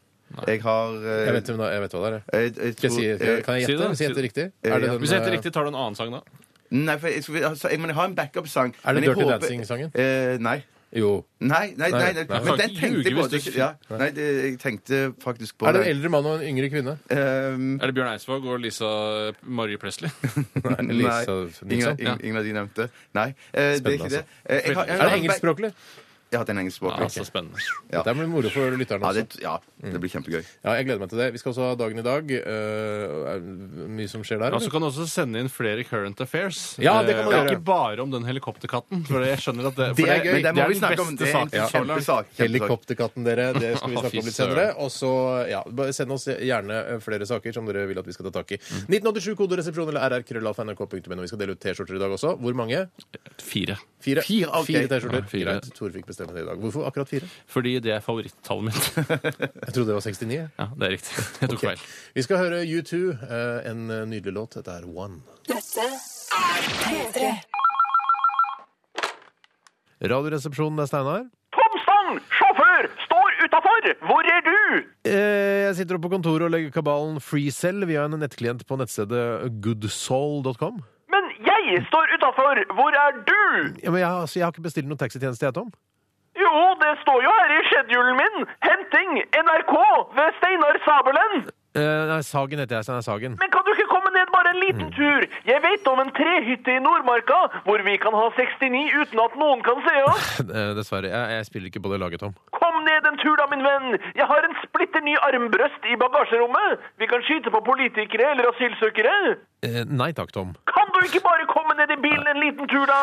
S5: Jeg har eh,
S4: Jeg vet, hvem det- jeg vet hva det er. jeg.
S5: jeg- jeg
S4: Skal jeg si,
S5: tror- eh,
S4: kan jeg
S3: si
S4: gjette?
S3: det.
S4: Hvis jeg gjetter riktig?
S5: Eh,
S4: Er det
S5: ja.
S4: den,
S3: Hvis jeg heter
S4: eh,
S3: riktig, tar du en annen sang da?
S5: Nei, for jeg, skulle- altså, jeg, men jeg har en backup-sang.
S4: Er det
S5: men jeg
S4: Dirty
S5: håper-
S4: Dancing-sangen?
S5: Eh, nei.
S4: Jo.
S5: Nei, nei, nei, nei,
S4: Nei.
S5: men den tenkte jeg på.
S3: Ljuge hvis
S5: Det,
S3: du-
S5: ja. nei, det, jeg tenkte faktisk på
S4: Er det en eldre mann og en yngre kvinne?
S5: Ehm,
S3: Er det Bjørn Eidsvåg og Lisa eh, Marie Presley?
S4: [laughs] Nei, Lisa
S5: Ingen,
S4: Nilsson?
S5: ingen, ingen av de nevnte. Nei, eh, det er ikke det. Eh, jeg har- jeg
S4: Er
S5: har-
S4: det engelskspråklig?
S5: Ja, det er en engelskspråk.
S3: Ja, så spennende.
S5: Ja.
S4: Det blir moro for lytterne
S5: Ja,
S4: også.
S5: det, ja, det blir kjempegøy.
S4: Ja, jeg gleder meg til det. Vi skal også ha dagen i dag. Eh, er det mye som skjer der?
S3: Ja, så
S4: eller?
S3: kan Altså, du også sende inn flere current affairs.
S4: Ja, det kan man
S3: Eh,
S4: gjøre.
S3: Ikke bare om den helikopterkatten. For jeg skjønner at det, for
S4: Det er gøy.
S5: Men det
S3: Det
S5: må
S3: er
S5: vi
S3: den
S5: snakke om.
S3: beste
S5: Det er en
S3: saken så langt.
S5: kjempesak. kjempesak.
S4: Helikopterkatten, dere. Det skal vi
S3: [laughs] Å,
S4: snakke
S3: fy
S4: om litt senere. Og så, ja, bare Send oss gjerne eh, flere saker som dere vil at vi skal ta tak i.
S3: Mm.
S4: 1987 koderesepsjon eller rrkrøllalfa.nrk.no. Vi skal dele ut T-skjorter i dag også. Hvor mange?
S3: Fire.
S4: Fire.
S5: Fire, ok.
S4: Fire T-skjorter.
S3: Ja, fire.
S4: Greit. Tor fikk bestemme det i dag. Hvorfor akkurat
S3: [laughs]
S4: fire?
S3: Fordi det er favorittallet mitt.
S4: [laughs] Jeg trodde det var 69. jeg.
S3: Ja, det er riktig. Jeg tok
S4: Ok.
S3: feil.
S4: Vi skal høre U2, eh, en nydelig låt. Dette er One. Radioresepsjonen, det er Steinar.
S6: Tomstang, sånn, sjåfør, står utafor! Hvor er du?
S4: Eh, Jeg sitter oppe på kontoret og legger kabalen FreeCell via en nettklient på nettstedet goodsoul.com.
S6: Men jeg står utafor! Hvor er du?
S4: Ja, men jeg, har- altså, jeg har ikke bestilt noen taxitjeneste, jeg, Tom.
S6: Jo, det står jo her i schedulen min! Henting NRK ved Steinar Sabelen!
S4: Eh, nei, Sagen heter jeg. Steinar Sagen. [laughs]
S6: Men kan du ikke komme ned bare en liten tur? Jeg vet om en trehytte i Nordmarka hvor vi kan ha 69 uten at noen kan se oss.
S4: Eh, Dessverre. Jeg, jeg spiller ikke på det laget, Tom.
S6: Kom ned en tur da, min venn! Jeg har en splitter ny armbrøst i bagasjerommet! Vi kan skyte på politikere eller asylsøkere.
S4: Eh, Nei takk, Tom.
S6: Kan du ikke bare komme ned i bilen en liten tur, da?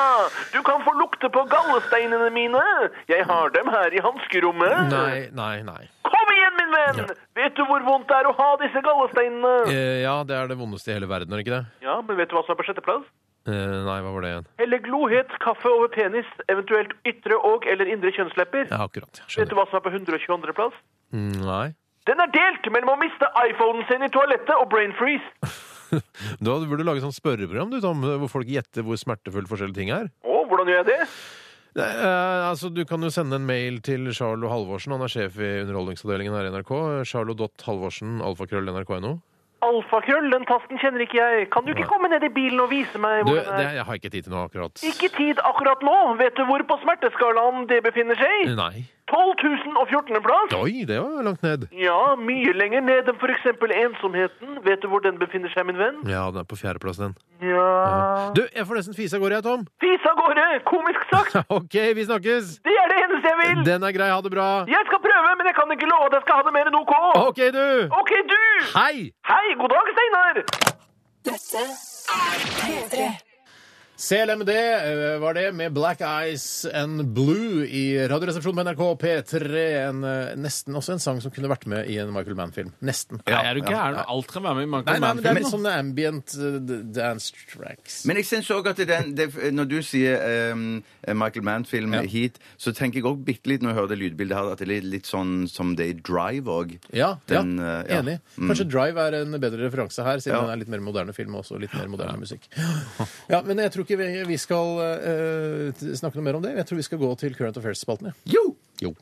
S6: Du kan få lukte på gallesteinene mine. Jeg har dem her i hanskerommet.
S4: Nei, nei, nei.
S6: Kom igjen, min venn! Vet du hvor vondt det er å ha disse gallesteinene?
S4: Eh, Ja, det er det vondeste i hele verden, er det ikke det?
S6: Ja, men vet du hva som er på sjetteplass?
S4: Eh, Nei, hva var det igjen?
S6: Helle glohet kaffe over penis, eventuelt ytre og eller indre kjønnslepper.
S4: Ja, akkurat. Jeg
S6: Vet du
S4: skjønner.
S6: hva som er på 122. plass?
S4: Mm, Nei.
S6: Den er delt mellom å miste iPhonen sin i toalettet og brain freeze.
S4: Da burde du lage sånn spørreprogram, du, Tom, hvor folk gjetter hvor smertefulle forskjellige ting er.
S6: Å, hvordan gjør jeg det?
S4: Nei, eh, altså, Du kan jo sende en mail til Charlo Halvorsen. Han er sjef i Underholdningsavdelingen her i NRK. Charlo.halvorsen, alfakrøll, nrk.no.
S6: Alfakrøll, den tasten kjenner ikke jeg. Kan du ikke komme ned i bilen og vise meg
S4: Du,
S6: hvordan
S4: det, jeg har ikke tid til nå akkurat.
S6: Ikke tid akkurat nå. Vet du hvor på smerteskalaen det befinner seg?
S4: Nei.
S6: 12.014. plass.
S4: Oi, det var langt ned.
S6: Ja, mye lenger ned enn for eksempel ensomheten. Vet du hvor den befinner seg, min venn?
S4: Ja, den er på fjerdeplass, den.
S6: Ja...
S4: Du, jeg får nesten fise av gårde, jeg, Tom. [laughs]
S6: Fis av gårde! Komisk sagt!
S4: OK, vi snakkes!
S6: Det er det eneste jeg vil!
S4: Den er grei, ha det bra.
S6: Jeg skal prøve, men jeg kan ikke love at jeg skal ha det mer enn OK.
S4: OK, du!
S6: OK, du!
S4: Hei!
S6: Hei, god dag, Steinar!
S4: CLMD eh, var det, med Black Eyes and Blue i Radioresepsjonen på NRK P3. En, eh, nesten også en sang som kunne vært med i en Michael Mann-film. Nesten.
S3: Nei, er du gæren? Alt kan være med i
S4: Nei,
S3: Michael
S4: nei, men det er litt
S3: Mann-filmen.
S4: sånn ambient eh, d- dance tracks.
S5: Men jeg syns òg at den, det, når du sier ehm, Michael Mann-film
S4: Ja.
S5: hit, så tenker jeg òg bitte litt når jeg hører det lydbildet her, at det er litt- litt sånn som det er i Drive òg.
S4: Ja,
S5: Den,
S4: ja,
S5: eh, ja.
S4: enig.
S5: Mm.
S4: Kanskje Drive er en bedre referanse her, siden
S5: Ja.
S4: den er litt mer moderne film og også litt mer moderne musikk. [gasps] Ja, Men jeg tror ikke vi, vi skal eh, t- snakke noe mer om det. Jeg tror vi skal gå til Current Affairs-spalten. jeg.
S5: Jo!
S4: Jo.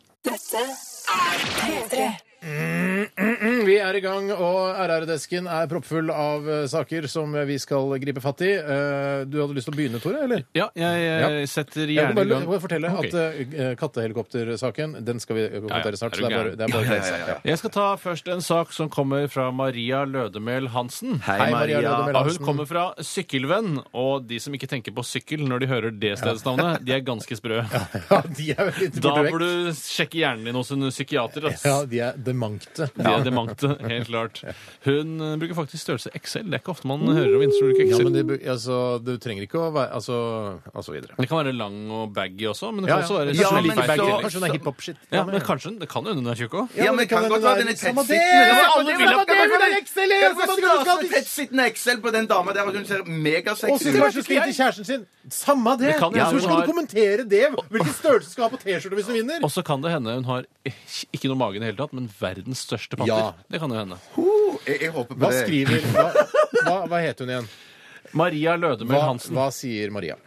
S4: Mm, Vi er i gang, og RR-desken er proppfull av eh, saker som vi skal gripe fatt i. Eh, du hadde lyst til å begynne, Tore? eller?
S3: Ja, jeg, jeg setter
S4: Jeg kan
S3: gjerne
S4: bare,
S3: i
S4: jeg kan bare
S3: gang.
S4: fortelle
S3: Ok.
S4: at eh, kattehelikoptersaken den skal vi eh,
S3: Ja, ja.
S4: håndtere snart. så
S3: Er du
S4: det er bare,
S3: gæren?
S4: det er bare å
S5: Ja,
S4: glede
S5: ja,
S4: seg.
S5: ja, ja.
S3: Jeg skal ta først en sak som kommer fra Maria Lødemel Hansen.
S4: Hei, Maria Lødemel.
S3: Ja, hun kommer fra Sykkelvenn, og de som ikke tenker på sykkel når de hører det stedsnavnet,
S4: [laughs]
S3: de er ganske sprø.
S4: [laughs] Ja, de er veldig
S3: Da
S4: borte vekk.
S3: bør du sjekke hjernen din hos en psykiater. ass.
S4: Ja, de er demante.
S3: De er demante. Henriette. [laughs] Helt klart. Hun eh, bruker faktisk størrelse XL. Det er ikke ofte man hører om Innsbruck bruker
S4: Ja,
S3: XL.
S4: men det, bu- altså, du trenger ikke å være Altså, og så videre.
S3: Det kan være lang og baggy også, men det sånn
S4: Ja,
S3: kan også
S4: ja.
S3: være
S4: Ja,
S3: slik
S5: men
S4: men
S3: baggy.
S5: så-
S4: så- Kanskje hun er hiphop-shit.
S3: liksom. Ja, men kanskje den- det kan hende hun er tjukk òg.
S5: Ja, men det kan godt være den er
S4: Samme det!
S5: tettsittende. Ja,
S4: Samme
S5: men
S4: det,
S5: vil-
S4: samme det,
S5: kan-
S4: hun er XL, jeg, samme
S5: Kan du
S4: det, hun skal
S5: ha
S4: til-
S5: tettsittende XL på den dama der? Hun ser megasexy
S4: Og så
S5: ut.
S4: kanskje hun skal gi til kjæresten sin. Samme det!
S3: Det kan jo
S4: ja,
S3: hende
S4: så
S3: hun
S4: skal
S3: har-
S4: du kommentere det? Hvilken størrelse skal du ha på T-skjorte hvis du vinner?
S3: Og så kan det hende hun har ik- ikke noe mage i det hele tatt, men verdens største panter.
S4: Ja.
S3: Det kan jo hende.
S5: Jeg, jeg håper på
S4: Hva
S5: det.
S4: skriver Hva, hva, hva heter hun igjen?
S3: Maria Lødemøl
S4: Hva,
S3: Hansen.
S4: hva sier Maria?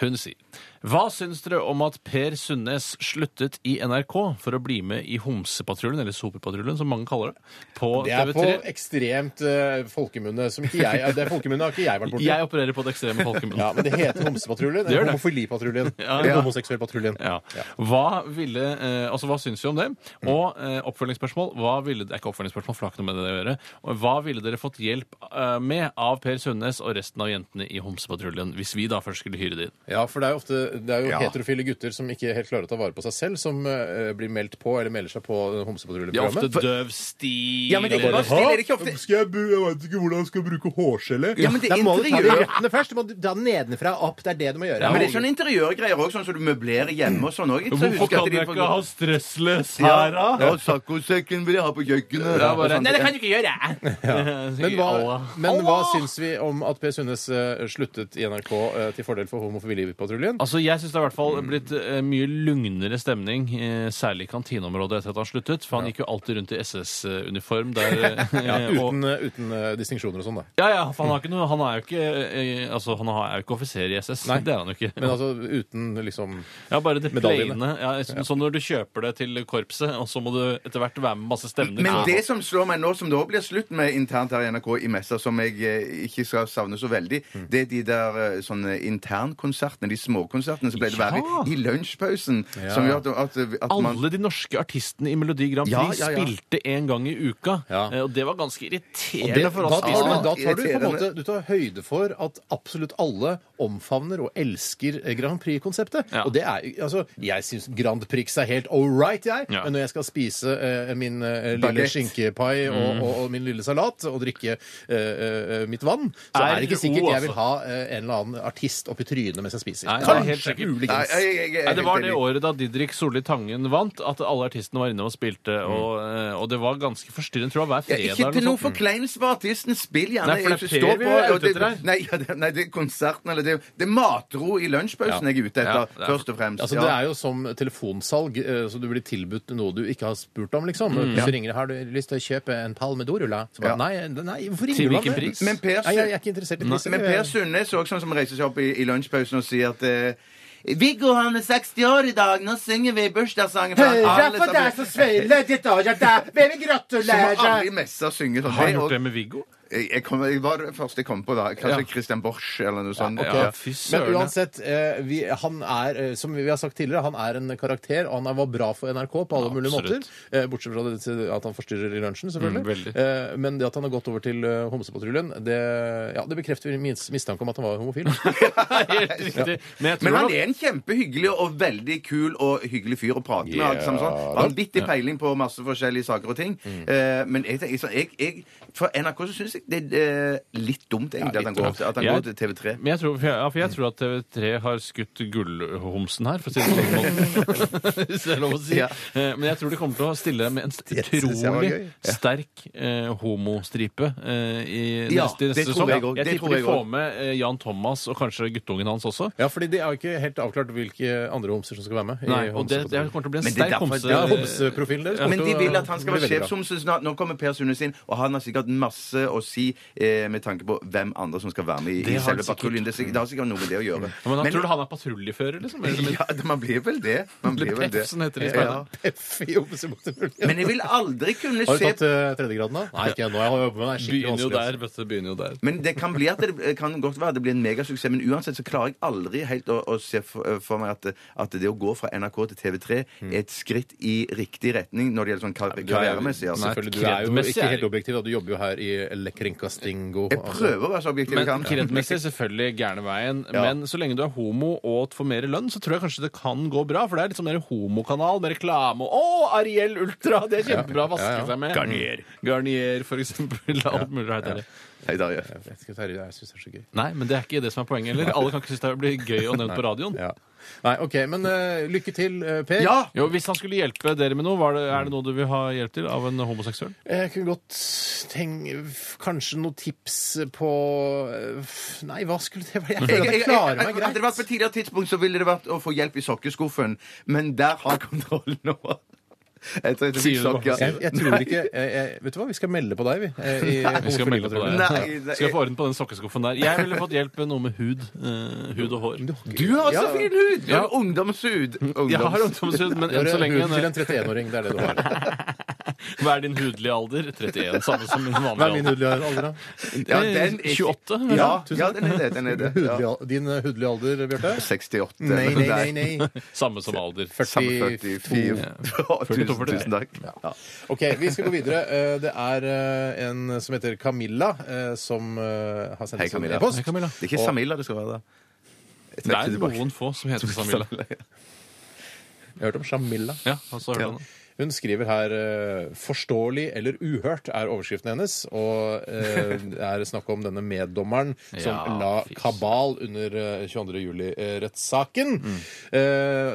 S3: Hun sier Hva syns dere om at Per Sundnes sluttet i NRK for å bli med i Homsepatruljen, eller Soperpatruljen som mange kaller det, på
S4: Det er på
S3: TV3?
S4: ekstremt eh, folkemunne som ikke jeg Det folkemunne har ikke jeg vært borti.
S3: Jeg opererer på det ekstreme folkemunnet.
S4: Ja, men det heter homsepatruljen.
S3: gjør
S4: eller
S3: det.
S4: Homofilipatruljen.
S3: Ja.
S4: Eller homoseksuellpatruljen.
S3: Ja. Hva ville eh, Altså, hva syns vi om det? Og eh, oppfølgingsspørsmål hva ville, Det er ikke oppfølgingsspørsmål, for det har ikke noe med det å gjøre. Og Hva ville dere fått hjelp eh, med av Per Sundnes og resten av jentene i Homsepatruljen, hvis vi da først skulle hyre det inn?
S4: Ja, for det er jo ofte det er jo
S5: Ja.
S4: heterofile gutter som ikke helt klarer å ta vare på seg selv, som eh, blir meldt på eller melder seg på
S3: De er ofte
S4: homsepatruljeprogrammet.
S3: døv stil sånn,
S5: Ja, men det-
S3: eller-
S5: hva stiller dere ikke ofte-
S4: Skal jeg, bu- jeg veit ikke hvordan jeg skal bruke hårgelé.
S5: Ja, men det
S4: Da må du ta de
S5: interiør-
S4: røttene først. Du må ta den nedenfra og opp. Det er det du må gjøre.
S5: Men det er sånne interiørgreier òg, sånn som du møblerer hjemme og sånn òg.
S3: Hvorfor kan jeg ikke ha stressløs her, da?
S5: Ja, saccosekken vil jeg ha på
S3: Det
S5: kjøkkenet.
S3: er bare-
S5: Og sånn.
S3: Nei, det kan du ikke gjøre! [laughs]
S4: Men hva,
S3: Allah.
S4: men hva syns vi om at Per Sundnes eh, sluttet i NRK eh, til fordel for Homofilipatruljen?
S3: Altså, Jeg syns det har i hvert fall blitt eh, mye lugnere stemning, eh, særlig i kantineområdet etter at han sluttet. For han gikk jo alltid rundt i SS-uniform der. eh,
S4: Ja,
S3: og-
S4: uten eh, uten eh, distinksjoner og sånn, da.
S3: Ja, ja, for han, har ikke noe, han er jo ikke eh, Altså, han har- er jo ikke offiser i SS.
S4: Nei.
S3: Det er han jo ikke.
S4: Men altså uten liksom
S3: ja, bare det
S4: medaljene.
S3: plaine. Ja, som- Sånn når du kjøper det til korpset, og så må du etter hvert være med masse stevner.
S5: Men
S3: Ja.
S5: det som slår meg nå, som det òg blir slutt med internt her i NRK i messa, som jeg eh, ikke skal savne så veldig,
S3: Mm.
S5: det er de der eh, sånne internkonsertene, de småkonsertene som pleide å være
S3: Ja.
S5: i- i lunsjpausen. Som gjør at, at, at man
S3: alle de norske artistene i Melodi Grand
S5: Ja,
S3: Prix
S5: ja, ja.
S3: spilte en gang i uka.
S4: Ja.
S3: eh, Og det var ganske irriterende
S4: det, da,
S3: for
S4: tar
S3: oss.
S4: du, da
S3: artistene.
S4: tar du på en
S5: irriterende.
S4: måte du tar høyde for at absolutt alle omfavner og elsker eh, Grand Prix-konseptet.
S3: Ja.
S4: Og det er jo- altså, Jeg syns Grand Prix er helt all right, jeg.
S3: Ja.
S4: Men når jeg skal spise eh, min eh, lille
S5: Baguette.
S4: skinkepai og,
S3: Mm.
S4: og, og min lille salat og drikke eh, eh, mitt vann, så
S3: Er
S4: er, det ikke
S3: god,
S4: sikkert jeg
S3: altså.
S4: vil ha eh, en eller annen artist oppi trynet mens jeg spiser.
S3: Nei, det er helt
S4: Kanskje,
S3: sikkert.
S5: Nei,
S4: muligens.
S5: jeg- jeg- jeg er
S3: Nei, det
S5: helt
S3: var det
S5: enig.
S3: året da Didrik Solli Tangen vant, at alle artistene var inne og spilte. Og, eh, og det var ganske forstyrrende, tror jeg, hver
S5: Mm. Ja,
S3: fredag.
S5: ikke
S3: eller
S5: til
S3: noe
S5: noe
S3: sånt.
S5: forkleinelse for artisten. Spill gjerne.
S3: Nei, for det er
S5: Jeg
S3: Per
S5: står
S3: vi er
S5: og
S3: ute etter
S5: det- Nei, ja, det- nei, det er konserten eller det, det er matro i lunsjpausen jeg er ute
S3: Ja,
S5: etter,
S3: det er-
S5: først og fremst.
S4: Altså,
S5: ja.
S4: Det er jo som telefonsalg, eh, så du blir tilbudt noe du ikke har spurt om, liksom.
S3: Mm.
S4: Så ringer det, har du lyst til å kjøpe en pall med dorulla? Så bare,
S5: Ja.
S4: nei, nei, hvorfor
S3: Til
S4: ringer du om
S3: hvilken
S4: det?
S3: pris?
S5: Men Per-
S4: Nei, jeg, jeg er ikke interessert i prisen.
S5: Men Per Sundnes er også sånn som reiser seg opp i, i lunsjpausen og sier at eh, Viggo han er 60 år i dag, nå synger vi bursdagssangen for han alle sammen.
S4: sveiler ditt år, hvem vil
S5: Som alle i messa synger
S3: Har
S5: sånn.
S3: han
S5: Det er
S3: gjort
S5: også-
S3: det med Viggo?
S5: Jeg, jeg kom, jeg var det første jeg kom på, da. Kanskje Christian Borch eller noe sånt.
S3: Ja, fy
S4: Men
S3: søren.
S4: uansett, eh, vi, han er, eh, som vi har sagt tidligere, han er en karakter, og han er, var bra for NRK på alle mulige
S3: Absolutt.
S4: måter. Eh, bortsett fra det, at han forstyrrer i lunsjen,
S3: Mm,
S4: selvfølgelig.
S3: veldig.
S4: eh, men det at han har gått over til eh, Homsepatruljen, det, ja, det bekrefter min mistanke om at han var homofil.
S3: [laughs] Helt riktig. Men jeg tror
S5: Men han
S3: nok-
S5: er en kjempehyggelig og veldig kul og hyggelig fyr å prate med. alt sammen sånn. Vanvittig peiling på masse forskjellige saker og ting.
S3: Mm.
S5: Eh, men jeg, tenker- så jeg, jeg, for NRK så syns jeg det er eh, litt dumt egentlig at han går, at han
S3: Jeg-
S5: går til TV3.
S3: men jeg tror, for jeg, ja, for jeg tror at TV3 har skutt gullhomsen her, for å si det på den måten. [laughs] Hvis det er lov å si.
S5: Ja.
S3: Eh, Men jeg tror de kommer til å stille med en st-
S4: Det synes jeg var
S3: utrolig
S4: gøy.
S3: sterk eh, homostripe eh, i
S5: Ja,
S3: neste,
S5: det
S3: neste sesong.
S5: tror jeg også. Det tror
S3: tipper de
S5: jeg
S3: får
S5: også.
S3: med eh, Jan Thomas og kanskje guttungen hans også.
S4: Ja, fordi de har jo ikke helt avklart hvilke andre homser som skal være med. i
S3: Nei, og det, det
S4: homsepatruljen.
S3: kommer til å bli en
S5: Men det er
S3: sterk
S5: derfor-
S3: homse...
S4: ja, homseprofilen deres.
S5: Men de vil at han skal
S4: Det
S5: være
S4: blir veldig bra.
S5: sjefsomsen snart. Nå kommer Per Sundnes inn, og han har sikkert masse å si eh, med tanke på hvem andre som skal være med i,
S3: Det
S5: i
S3: har han
S5: selve
S3: sikkert.
S5: patruljen. Det, er sikk- det har sikkert noe med det å gjøre.
S3: Ja, Men han tror du han er patruljefører, liksom? Eller,
S5: [laughs] ja, man blir vel det. Man blir vel det.
S3: Pefsen heter det i
S5: Ja.
S3: speilet.
S4: F i homsepatruljen.
S5: Men jeg vil aldri kunne
S4: Har du
S5: se
S4: tatt uh, tredjegraden, da? Nei, ikke ennå. Jeg har jobbet med det. Det er skikkelig
S3: Begynner jo
S4: vanskelig, altså.
S3: der, vet du. Begynner jo der.
S5: men det kan, bli at det kan godt være at det blir en megasuksess, men uansett så klarer jeg aldri helt å, å se for, for meg at, at det å gå fra NRK til TV3
S3: Mm.
S5: er et skritt i riktig retning når det gjelder sånn kar
S4: Du er jo-
S5: karrieremessig. Altså.
S4: Selvfølgelig, Du er jo
S3: kredmessig
S4: ikke
S3: er
S4: helt
S3: det-
S4: objektiv, da. Du jobber jo her i Altså, Kringkastingo.
S5: Jeg prøver å være så objektiv jeg
S3: Men
S5: kan.
S3: Kreditmessig selvfølgelig gærne veien. Men så lenge du er homo og får mer lønn, så tror jeg kanskje det kan gå bra. For det er litt sånn der homokanal med reklame. Å, Ariel Ultra! Det er kjempebra å vaske
S4: Ja, ja.
S3: seg med.
S4: Garnier.
S3: Garnier, for eksempel. Alt mulig rart der.
S5: Hei, Darje.
S4: Jeg vet ikke, Terje, jeg syns det er så gøy.
S3: Nei, men det er ikke det som er poenget heller. Alle kan ikke synes det blir gøy å nevne på radioen.
S4: Ja. Nei, OK. Men eh, lykke til, eh, Per.
S5: Ja!
S3: Jo, Hvis han skulle hjelpe dere med noe, var det, er det noe du vil ha hjelp til av en homoseksuell?
S4: Jeg kunne godt tenke f- Kanskje noen tips på eh, f- Nei, hva skulle det være? Jeg
S5: Jeg,
S4: føler at
S5: jeg,
S4: jeg
S5: jeg,
S4: klarer meg
S5: hadde det vært på
S4: greit.
S5: et tidligere tidspunkt, så ville det vært å få hjelp i sokkeskuffen, men der har kontrollen nå. Jeg tror jeg
S3: Sier
S5: fikk
S3: du
S5: sokker.
S3: det?
S4: Jeg, jeg tror ikke jeg, jeg, Vet du hva, vi skal melde på deg, vi. eh,
S3: [laughs]
S4: i
S3: Vi skal melde på deg.
S5: Nei, nei.
S3: Skal jeg få orden på den sokkeskuffen der? Jeg ville fått hjelp med noe med hud. eh, hud og hår.
S5: Du har så
S4: Ja.
S5: fin hud! Du har ungdomshud.
S3: Jeg har
S5: Ungdoms-
S3: ungdomshud, men enn
S4: Gjøre
S3: så lenge
S4: hud til en 31-åring, det er det du
S3: [laughs]
S4: har.
S3: Hva er din hudlige alder? 31. Samme som min
S4: Hva er
S3: vanlige
S4: min
S3: alder.
S4: hudlige alder, da?
S5: Ja, den er-
S3: 28? vel?
S5: Ja, ja, den er det. Den er det. Ja.
S4: Hudlig, al- din eh, hudlige alder, Bjarte?
S5: 68.
S4: Nei, nei, nei. nei.
S3: [laughs] Samme som alder.
S5: Samme 44.
S4: 42.
S5: [laughs] Tusen,
S3: 42.
S5: tusen takk.
S4: OK, vi skal gå videre. Eh, Det er eh, en som heter Camilla, eh, som eh, har sendt
S5: Hei,
S4: oss en
S5: Camilla.
S4: e-post.
S3: Hei, Camilla.
S5: Det er ikke Samila det skal være, da. Jeg
S3: Det
S5: trekker
S3: er
S5: tilbake.
S3: noen få som heter Samila.
S4: Jeg har hørt om Shamilla.
S3: Ja, altså, hørte han det.
S4: Hun skriver her eh, 'Forståelig eller uhørt' er overskriften hennes. Og eh, det er snakk om denne meddommeren som
S3: Ja,
S4: la
S3: fis.
S4: kabal under eh, 22. juli-rettssaken.
S3: Mm.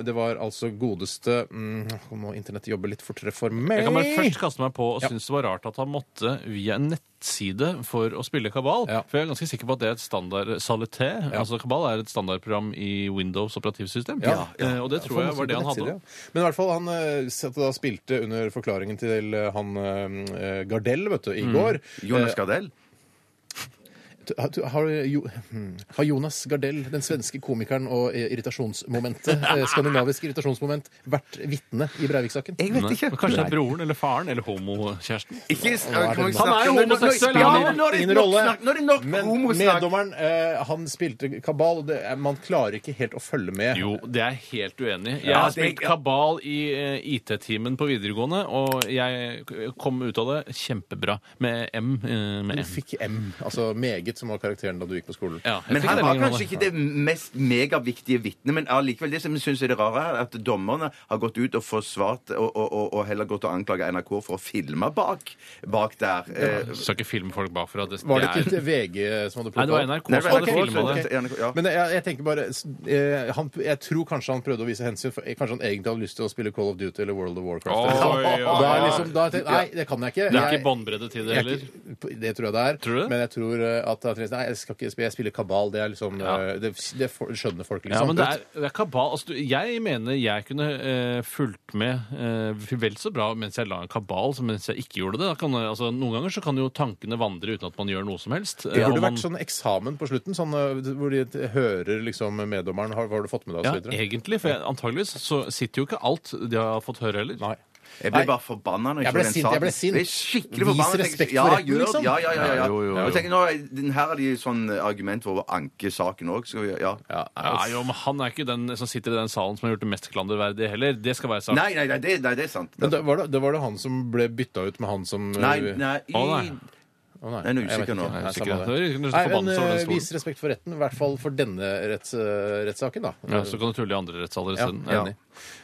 S4: det var altså godeste mm, Må internett jobbe litt fortere for meg?
S3: Jeg kan bare først kaste meg på og synes det var rart at han måtte via en nettside for å spille kabal.
S4: Ja.
S3: For jeg er ganske sikker på at det er et standard saleté. Altså Kabal er et standardprogram i Windows operativsystem.
S4: Ja,
S3: Eh, Og det tror jeg var det han hadde.
S4: Men i hvert fall, han eh, satt og da spilte under forklaringen til eh, han eh, Gardell, vet du,
S3: Mm.
S4: i går.
S5: [laughs] Jonas Gardell?
S4: Har, du- har, jo, hmm, har Jonas Gardell, den svenske komikeren og eh, irritasjonsmomentet,
S5: [laughs]
S4: eh, skandinavisk irritasjonsmoment, vært vitne i Breivik-saken?
S5: Jeg vet ikke.
S3: Men kanskje det er broren eller faren eller homokjæresten.
S5: Ikke,
S4: Han er jo
S3: homoseksuell,
S5: Ja,
S3: han er-
S5: men nå er det
S4: ingen
S5: nok
S4: rolle.
S5: snakk. Nå er det nok
S4: Men
S5: homosnakk.
S4: meddommeren, eh, han spilte kabal, og det, er- man klarer ikke helt å følge med.
S3: Jo, det er jeg helt uenig. i. Jeg
S5: Ja,
S3: har
S5: det-
S3: spilt kabal i eh, IT-timen på videregående, og jeg k- kom ut av det kjempebra med M. eh, Med
S4: Du
S3: M.
S4: fikk M, altså meget, som var karakteren da du gikk på skolen.
S3: Ja, jeg
S5: Men
S3: fikk
S5: han
S3: det
S5: var
S3: lenge,
S5: kanskje ikke det mest megaviktige vitnet, men allikevel det som jeg syns er det rare, er at dommerne har gått ut og forsvart og, og, og, og heller gått og anklaga NRK for å filme bak, bak der. Eh,
S3: Skal ikke filme folk bakfra. Det,
S4: Var det
S3: det er-
S4: ikke VG som hadde plukket
S3: Nei, det var NRK
S5: Nei,
S3: som hadde
S5: det var NRK,
S3: filma det.
S5: ok. NRK, ja.
S4: Men jeg, jeg tenker bare s- eh, han, Jeg tror kanskje han prøvde å vise hensyn. For, kanskje han egentlig hadde lyst til å spille Call of Duty eller World of Warcraft.
S3: Oi,
S4: eller
S3: oi,
S4: sånt.
S3: oi.
S4: [laughs] Da er liksom, da har jeg tenkt, nei, det kan jeg ikke.
S3: Det er
S4: Jeg-
S3: ikke båndbredde til det
S4: jeg er
S3: heller.
S4: ikke- Det tror jeg det er.
S3: Tror du det?
S4: Men jeg tror eh, at det er trist. Nei, jeg skal ikke spille, jeg spiller kabal. Det er liksom
S3: Ja.
S4: eh, det, det for- skjønner folk, liksom.
S3: Ja, men det er, det er kabal. Altså, du- jeg mener jeg kunne eh, fulgt med eh, vel så bra mens jeg la en kabal som mens jeg ikke gjorde det. Da kan, eh, altså, noen ganger så kan jo tankene vandre uten at man gjør noe som helst.
S4: Det
S3: Eh,
S4: burde
S3: og man,
S4: vært sånn eksamen på slutten, sånn, eh, hvor de t- hører liksom meddommeren har, 'Hva har du fått med deg?' og
S3: ja,
S4: så videre.
S3: egentlig, for jeg, antageligvis så sitter jo ikke alt de har fått høre heller.
S4: Nei.
S5: jeg ble
S4: Nei.
S5: bare forbanna. når
S4: Jeg
S5: så
S4: ble sint,
S5: den
S4: jeg
S5: saken.
S4: ble sint.
S5: Jeg er skikkelig
S4: Vis
S5: forbanna. Jeg tenkte,
S4: respekt for
S5: ja,
S4: retten,
S5: gjør-
S4: liksom.
S5: Ja, ja, ja. ja,
S3: Ja, jo, jo, jo.
S5: Jeg tenker, nå, den her er det sånn argument for å anke saken òg. Ja.
S4: Ja, altså-
S3: Ja, jo, men Han er ikke den som sitter i den salen som har gjort det mest klanderverdige heller. Det skal være sagt.
S5: Nei, nei, nei, det, nei, det er sant.
S4: Men da var det, det var det han som ble bytta ut med han som eh,
S5: Nei, nei, i-
S3: Å, nei.
S4: Å, nei.
S5: Jeg er nå
S4: Jeg vet
S5: usikker nå.
S4: ikke. Nei, samme
S3: Jeg er usikker.
S4: det.
S3: Det er litt
S4: Nei, men
S3: forbannelse over den
S4: eh,
S3: stolen.
S4: Vis respekt for retten, i hvert fall for denne retts, eh, rettssaken, da.
S3: Ja, så kan du tulle i andre rettssaler
S4: Ja,
S3: isteden.
S4: enig.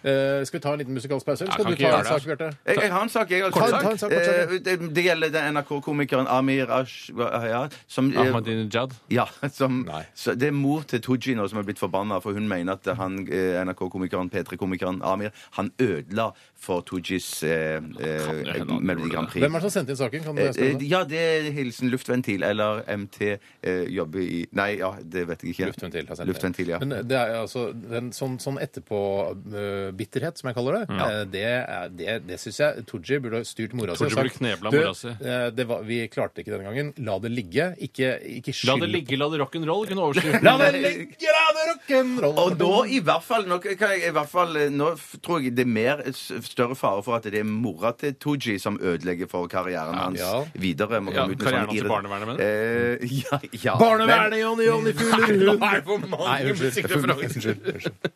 S4: Eh, skal vi ta en liten musikalsk pause, eller
S3: Ja,
S4: skal
S3: kan
S4: du
S3: ikke
S4: ta
S3: gjøre
S4: en sak, Bjarte?
S5: Jeg, jeg har en sak. Jeg, altså.
S4: Kort sak. Ta en sak, kort sak,
S5: Eh, det, det gjelder den NRK-komikeren Amir Ash... hva- Ja, som, eh,
S3: Ahmadinejad.
S5: ja, som
S4: Nei.
S5: så Det er mor til Tooji nå som er blitt forbanna, for hun mener at han, eh, NRK-komikeren, P3-komikeren Amir, han ødela for Toojis eh,
S3: hende
S5: eh,
S3: han gjorde
S5: Melodi Grand Prix.
S4: Hvem er det som sendte inn saken? Kan du
S5: Eh, eh,
S4: skrive det?
S5: ja, det er hilsen luftventil, eller MT eh, jobber i Nei, ja, det vet jeg ikke.
S4: Luftventil har sendt
S5: Luftventil, ja.
S4: Men det er altså den sånn, sånn etterpå-bitterhet, som jeg kaller det, eh, det, er- det, det syns jeg Tooji burde ha styrt mora si. og
S3: Tooji burde
S4: sagt,
S3: knebla
S4: «Du,
S3: mora si.»
S4: eh, det var, vi klarte det ikke denne gangen. La det ligge. Ikke, ikke skyld
S3: La det ligge, la det rock'n'roll
S4: [laughs]
S3: kunne overskrive.
S4: La det ligge, la det rock'n'roll!
S5: Og da i hvert fall Nå, kan jeg, i hvert fall, eh, nå f- tror jeg det er mer eh, s- større fare for at det er mora til Tooji som ødelegger for karrieren hans
S4: Ja.
S5: videre. Må
S3: Ja,
S5: komme ut med
S3: karrieren
S5: sånn
S3: hans i
S5: irri-
S3: barnevernet, mener
S5: Eh, [laughs] ja, ja.
S4: Barnevernet, Jonny Jonny Fuglerud!
S3: Nei, for mange
S4: Nei, unnskyld.
S3: musikkreferanser.
S4: Unnskyld. unnskyld.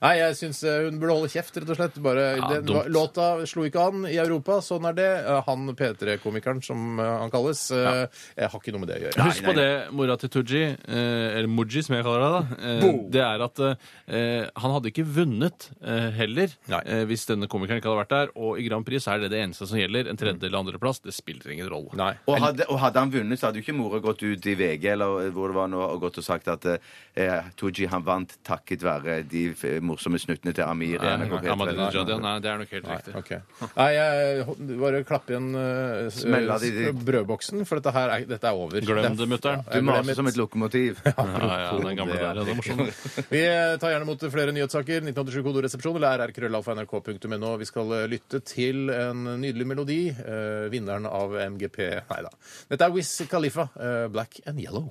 S4: Nei, jeg syns hun burde holde kjeft, rett og slett. Bare,
S3: Ja,
S4: den,
S3: dumt.
S4: låta slo ikke an i Europa, sånn er det. Eh, Han P3-komikeren, som eh, han kalles, eh, jeg har ikke noe med det å gjøre.
S3: Husk på det, mora til Tooji, eh, eller Muji som jeg kaller deg, da. Eh, det er at eh, han hadde ikke vunnet eh, heller
S4: Nei.
S3: eh, hvis denne komikeren ikke hadde vært der. Og i Grand Prix så er det det eneste som gjelder. En
S5: Mm.
S3: tredje- eller andreplass, det spiller ingen rolle.
S4: Nei.
S5: Og hadde, og hadde han vunnet, så hadde jo ikke mora gått ut i VG eller eh, hvor det var nå, og gått og sagt at eh, Tooji han vant takket være de f eh, morsomme snuttene til Amir. i
S3: Nei,
S5: NRK
S3: nei,
S5: P3.
S3: Ahmadinejad, ja, nei, det er nok helt riktig.
S4: Ok. Nei, jeg ho- bare klapp igjen eh, s-
S5: Smell av de- de-
S4: brødboksen, for dette her er, dette er over.
S3: Glem det, mutter'n.
S5: Du maser som et lokomotiv.
S3: Ja, ja, den gamle der, ja, det er
S5: [laughs]
S3: morsomt.
S4: Vi eh, tar gjerne imot flere nyhetssaker. 1987 kodoresepsjon eller rrkrøllalfa.nrk.no. Vi skal eh, lytte til en nydelig melodi. eh, vinneren av MGP Nei da. Dette er Wiz Khalifa, eh, 'Black and Yellow'.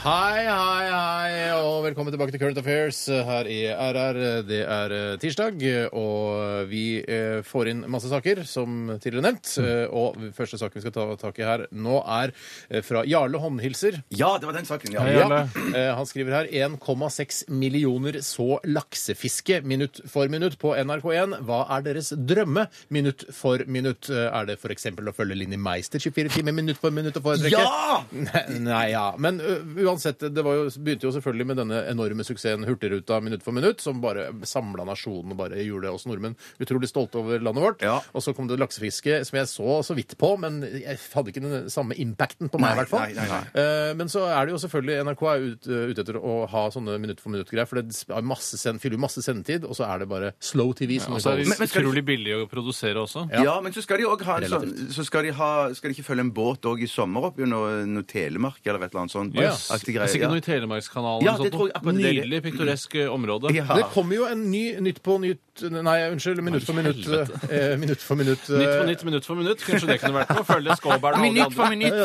S4: Hei, hei, hei, og velkommen tilbake til Current Affairs eh, her i RR. Det er eh, tirsdag, og vi eh, får inn masse saker, som tidligere nevnt. Eh, Og første saken vi skal ta tak i her nå, er eh, fra Jarle Håndhilser.
S5: Ja, det var den saken. Ja.
S4: Ja.
S3: Jarle.
S4: Eh, Han skriver her 1,6 millioner så laksefiske minutt for minutt på NRK1. Hva er deres drømme minutt for minutt? Eh, Er det f.eks. å følge Linni Meister 24 timer minutt for minutt å foretrekke?
S5: Ja!
S4: Nei, nei, ja. Men ø, uansett, det var jo, begynte jo selvfølgelig med denne enorme suksessen Hurtigruta minutt for minutt, som bare samla nasjonen og bare gjorde oss nordmenn utrolig stolte over landet vårt.
S5: Ja.
S4: Og så kom det laksefiske, som jeg så så vidt på, men jeg hadde ikke den samme impacten på meg, i
S5: Nei,
S4: hvert fall.
S5: nei, nei, nei.
S4: Eh, Men så er det jo selvfølgelig NRK er ute ute etter å ha sånne minutt for minutt-greier, for det er masse send, fyller jo masse sendetid, og så er det bare slow TV. som
S3: Og
S4: det
S3: så er
S4: kalles.
S3: det
S5: men skal du-
S3: utrolig billig å produsere også.
S5: Ja. men så skal de òg ha en sånn
S4: Relativt.
S5: Så skal de, ha, skal de ikke følge en båt òg i sommer opp gjennom noe Telemark eller et eller annet sånt?
S3: Yes.
S5: Aktig
S3: Det er
S5: greie,
S3: Sikkert
S5: ja.
S3: noe i Telemarkskanalen.
S5: Ja,
S3: eller sånt
S5: det tror jeg
S3: noe.
S5: akkurat det er det.
S3: Nydelig piktoresk eh, område.
S5: Ja.
S4: Det kommer jo en ny Nytt på nytt Nei, unnskyld. Minutt for minutt.
S3: helvete.
S4: eh, Minutt for minutt. eh,
S3: Nytt for nytt, minutt for minutt. Kanskje det kunne vært noe? Følge Skåberg og alle
S5: Minutt
S3: de
S5: for
S3: andre.
S5: minutt.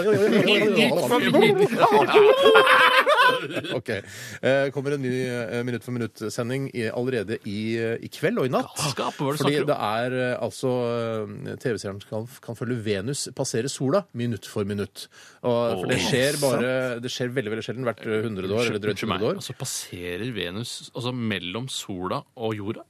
S4: Minutt for minutt. [laughs] Ok. Eh, kommer en ny eh, Minutt for minutt-sending i- allerede i, eh, i kveld og i natt.
S3: Galskap, hva er det du
S4: Fordi
S3: snakker om?
S4: det er eh, altså eh, TV-seeren kan, kan følge Venus passere sola minutt for minutt. Og, for det skjer bare Det skjer veldig veldig sjelden. Hvert eh, 100 år eller drøyt
S3: Unnskyld meg,
S4: 100 år.
S3: Altså passerer Venus altså mellom sola og jorda?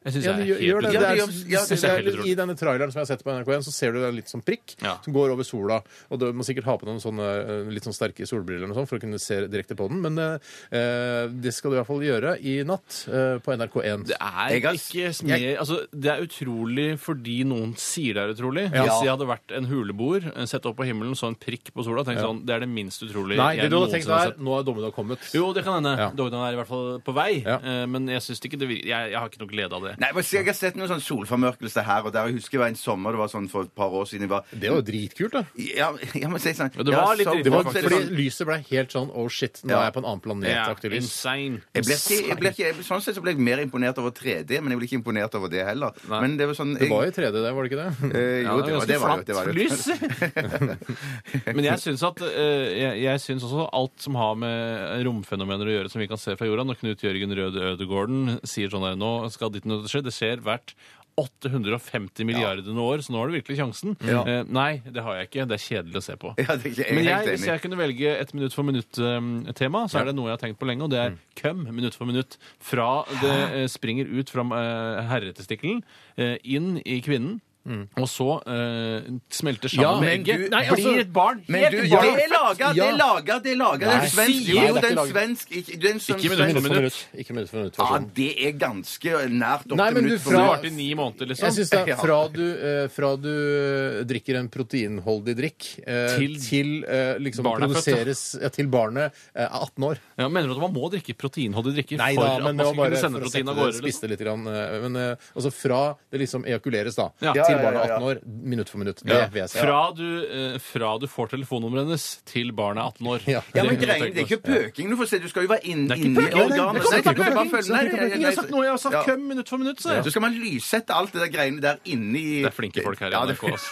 S3: Jeg syns
S4: Ja, det
S3: det
S4: gjør,
S3: er
S4: gjør
S3: helt
S4: det.
S5: utrolig.
S4: det, er,
S5: Ja, det gjør- ja, det
S4: det er,
S3: helt utrolig.
S4: I denne traileren som jeg har sett på NRK1, så ser du en litt sånn prikk
S3: Ja.
S4: som går over sola. Og du må sikkert ha på noen sånne eh, litt sånn sterke solbriller eller noe sånt for å kunne se direkte på den, men eh, eh, det skal du i hvert fall gjøre i natt eh, på NRK1.
S3: Det er
S5: Jeg har-
S3: ikke mer altså, Det er utrolig fordi noen sier det er utrolig. Hvis jeg hadde vært en huleboer, eh, sett opp på himmelen, så en prikk på sola, tenkt sånn Det er det minst utrolige
S4: Nei, det
S3: jeg
S4: du hadde tenkt
S3: noensinne har
S4: der, nå er dommedag kommet.
S3: sett. Jo, det kan hende.
S4: Ja.
S3: Dogdan er i hvert fall på vei.
S4: Ja.
S3: eh, Men jeg syns ikke det vir- jeg, jeg har ikke noe glede av det.
S5: Nei, men Jeg har sett noen sånn solformørkelse her og der. Jeg husker det var en sommer det var sånn for et par år siden. Jeg var,
S4: Det var jo dritkult, da.
S5: ja, jeg må si sånn
S3: Ja, det var litt
S5: så-
S3: dritkult,
S4: Det var
S5: så-
S4: fordi lyset ble helt sånn oh shit, nå
S5: Ja.
S4: er jeg på en annen planet.
S3: Det er
S4: lys.
S3: insane.
S5: Jeg ble, ikke, jeg ble ikke, jeg ble, sånn sett så ble jeg mer imponert over 3D, men jeg ble ikke imponert over det heller. Men det var sånn
S4: Det var
S5: jeg,
S4: jo 3D der, var det ikke det?
S5: eh, jo, det var det. Var, jo- det var, jo-
S3: Men jeg syns at eh, jeg, jeg syns også alt som har med romfenomener å gjøre, som vi kan se fra jorda Når Knut Jørgen Røde Ødegården sier sånn der Nå skal ditt og datt skje. Det skjer hvert 850 milliarder år, så nå har du virkelig sjansen. Eh, nei, det har jeg ikke. Det er kjedelig å se på.
S5: [laughs] Ja, det er ikke- jeg er
S3: Men jeg,
S5: helt
S3: hvis
S5: enig.
S3: jeg kunne velge et minutt for minutt-tema, så er det noe jeg har tenkt på lenge, og det
S4: Mm.
S3: er køm minutt for minutt. Fra det eh, springer ut fra eh, herretestikkelen, eh, inn i kvinnen. Og så eh, smelter
S4: Mm.
S3: sammen
S4: Ja,
S3: med
S4: men
S3: egget.
S5: du-
S3: Nei, altså,
S4: blir
S3: blir et barn.
S5: Men
S3: helt
S5: du,
S3: barn.
S5: det er laga, det
S4: Ja.
S5: er laga, det er laga! Det
S4: Nei,
S5: er svensk.
S4: sier jeg,
S5: Jo,
S4: det er
S5: den
S4: ikke laget.
S5: svensk Ikke, den som,
S3: Ikke
S5: svensk-
S3: minutt for minutt.
S4: Ikke minutt for minutt.
S5: Ja,
S4: versjonen.
S5: det er ganske nært opp
S4: Nei,
S5: til
S4: men
S5: minutt
S4: du,
S5: for
S3: Det
S4: fra-
S5: minutt.
S3: varte i ni måneder,
S4: Jeg
S3: liksom.
S4: syns
S3: [laughs]
S4: det er
S5: Ja.
S4: fra du, eh, fra du eh, drikker en proteinholdig drikk eh, til,
S3: Til-
S4: eh, liksom
S3: Barnet er født, da.
S4: produseres ja, til barnet eh, er 18 år.
S3: Ja, mener du at man må drikke proteinholdig drikke
S4: Nei
S3: for
S4: da,
S3: at
S4: men
S3: man
S4: det
S3: skal
S4: var bare
S3: kunne
S4: for
S3: sende
S4: å
S3: protein
S4: sette
S3: av liksom.
S4: det
S3: gårde? liksom?
S4: spiste litt. Grann, eh, men eh, altså fra det liksom ejakuleres, da,
S3: Ja.
S4: til til
S5: ja,
S4: barnet
S5: ja, ja.
S4: 18 år, minutt for minutt. Det vil jeg si.
S3: Fra du, eh, fra du får telefonnummeret hennes til barnet er 18 år.
S4: Ja.
S5: Ja,
S3: Det
S5: men
S3: må du
S5: greien,
S3: tenke
S5: det er
S3: på.
S5: ikke pøking du får se. Du skal jo være inn,
S3: Det er ikke
S5: inne i
S3: pøking, nei. Det kommer
S5: organet. Nei,
S3: ikke
S5: du kan
S3: pøking,
S5: bare
S3: jeg
S5: følge- nei, nei, nei,
S3: Jeg har sagt noe, jeg har
S5: Ja.
S3: sagt køm minutt for minutt, sa
S5: Så
S3: jeg.
S5: skal man lyssette alt det der greiene der inni
S3: Det er flinke folk her i
S5: Ja, [laughs] det-
S3: NRK. altså.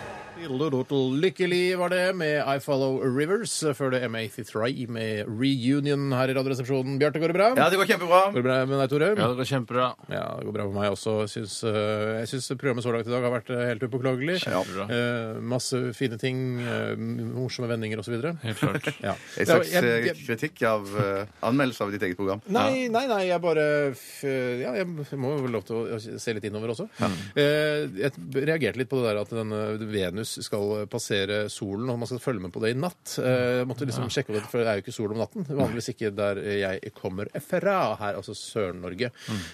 S4: Lykkelig var det med I Follow Rivers. Før det M83 med Reunion her i Radioresepsjonen. Bjarte, går det bra?
S5: [laughs] Ja, det går kjempebra.
S4: Går det bra med deg, Tore?
S3: Ja, det går kjempebra.
S4: Ja, det går bra for meg også. Jeg syns, øh, jeg syns programmet så langt i dag har vært øh, helt upåklagelig.
S3: Kjempebra.
S4: Eh, masse fine ting, øh, morsomme vendinger osv.
S3: Helt klart. [laughs]
S4: Ja.
S5: En slags
S4: Ja,
S5: eh,
S4: jeg- jeg-
S5: kritikk av eh, anmeldelse av ditt eget program.
S4: Nei, nei, nei, jeg bare f- Ja, jeg må jo få lov til å se litt innover også. Eh, jeg reagerte litt på det der at denne Venus skal passere solen, og man skal følge med på det i natt. Eh, jeg måtte liksom sjekke det, for det er jo ikke sol om natten. Vanligvis ikke der jeg kommer fra, her, altså Sør-Norge.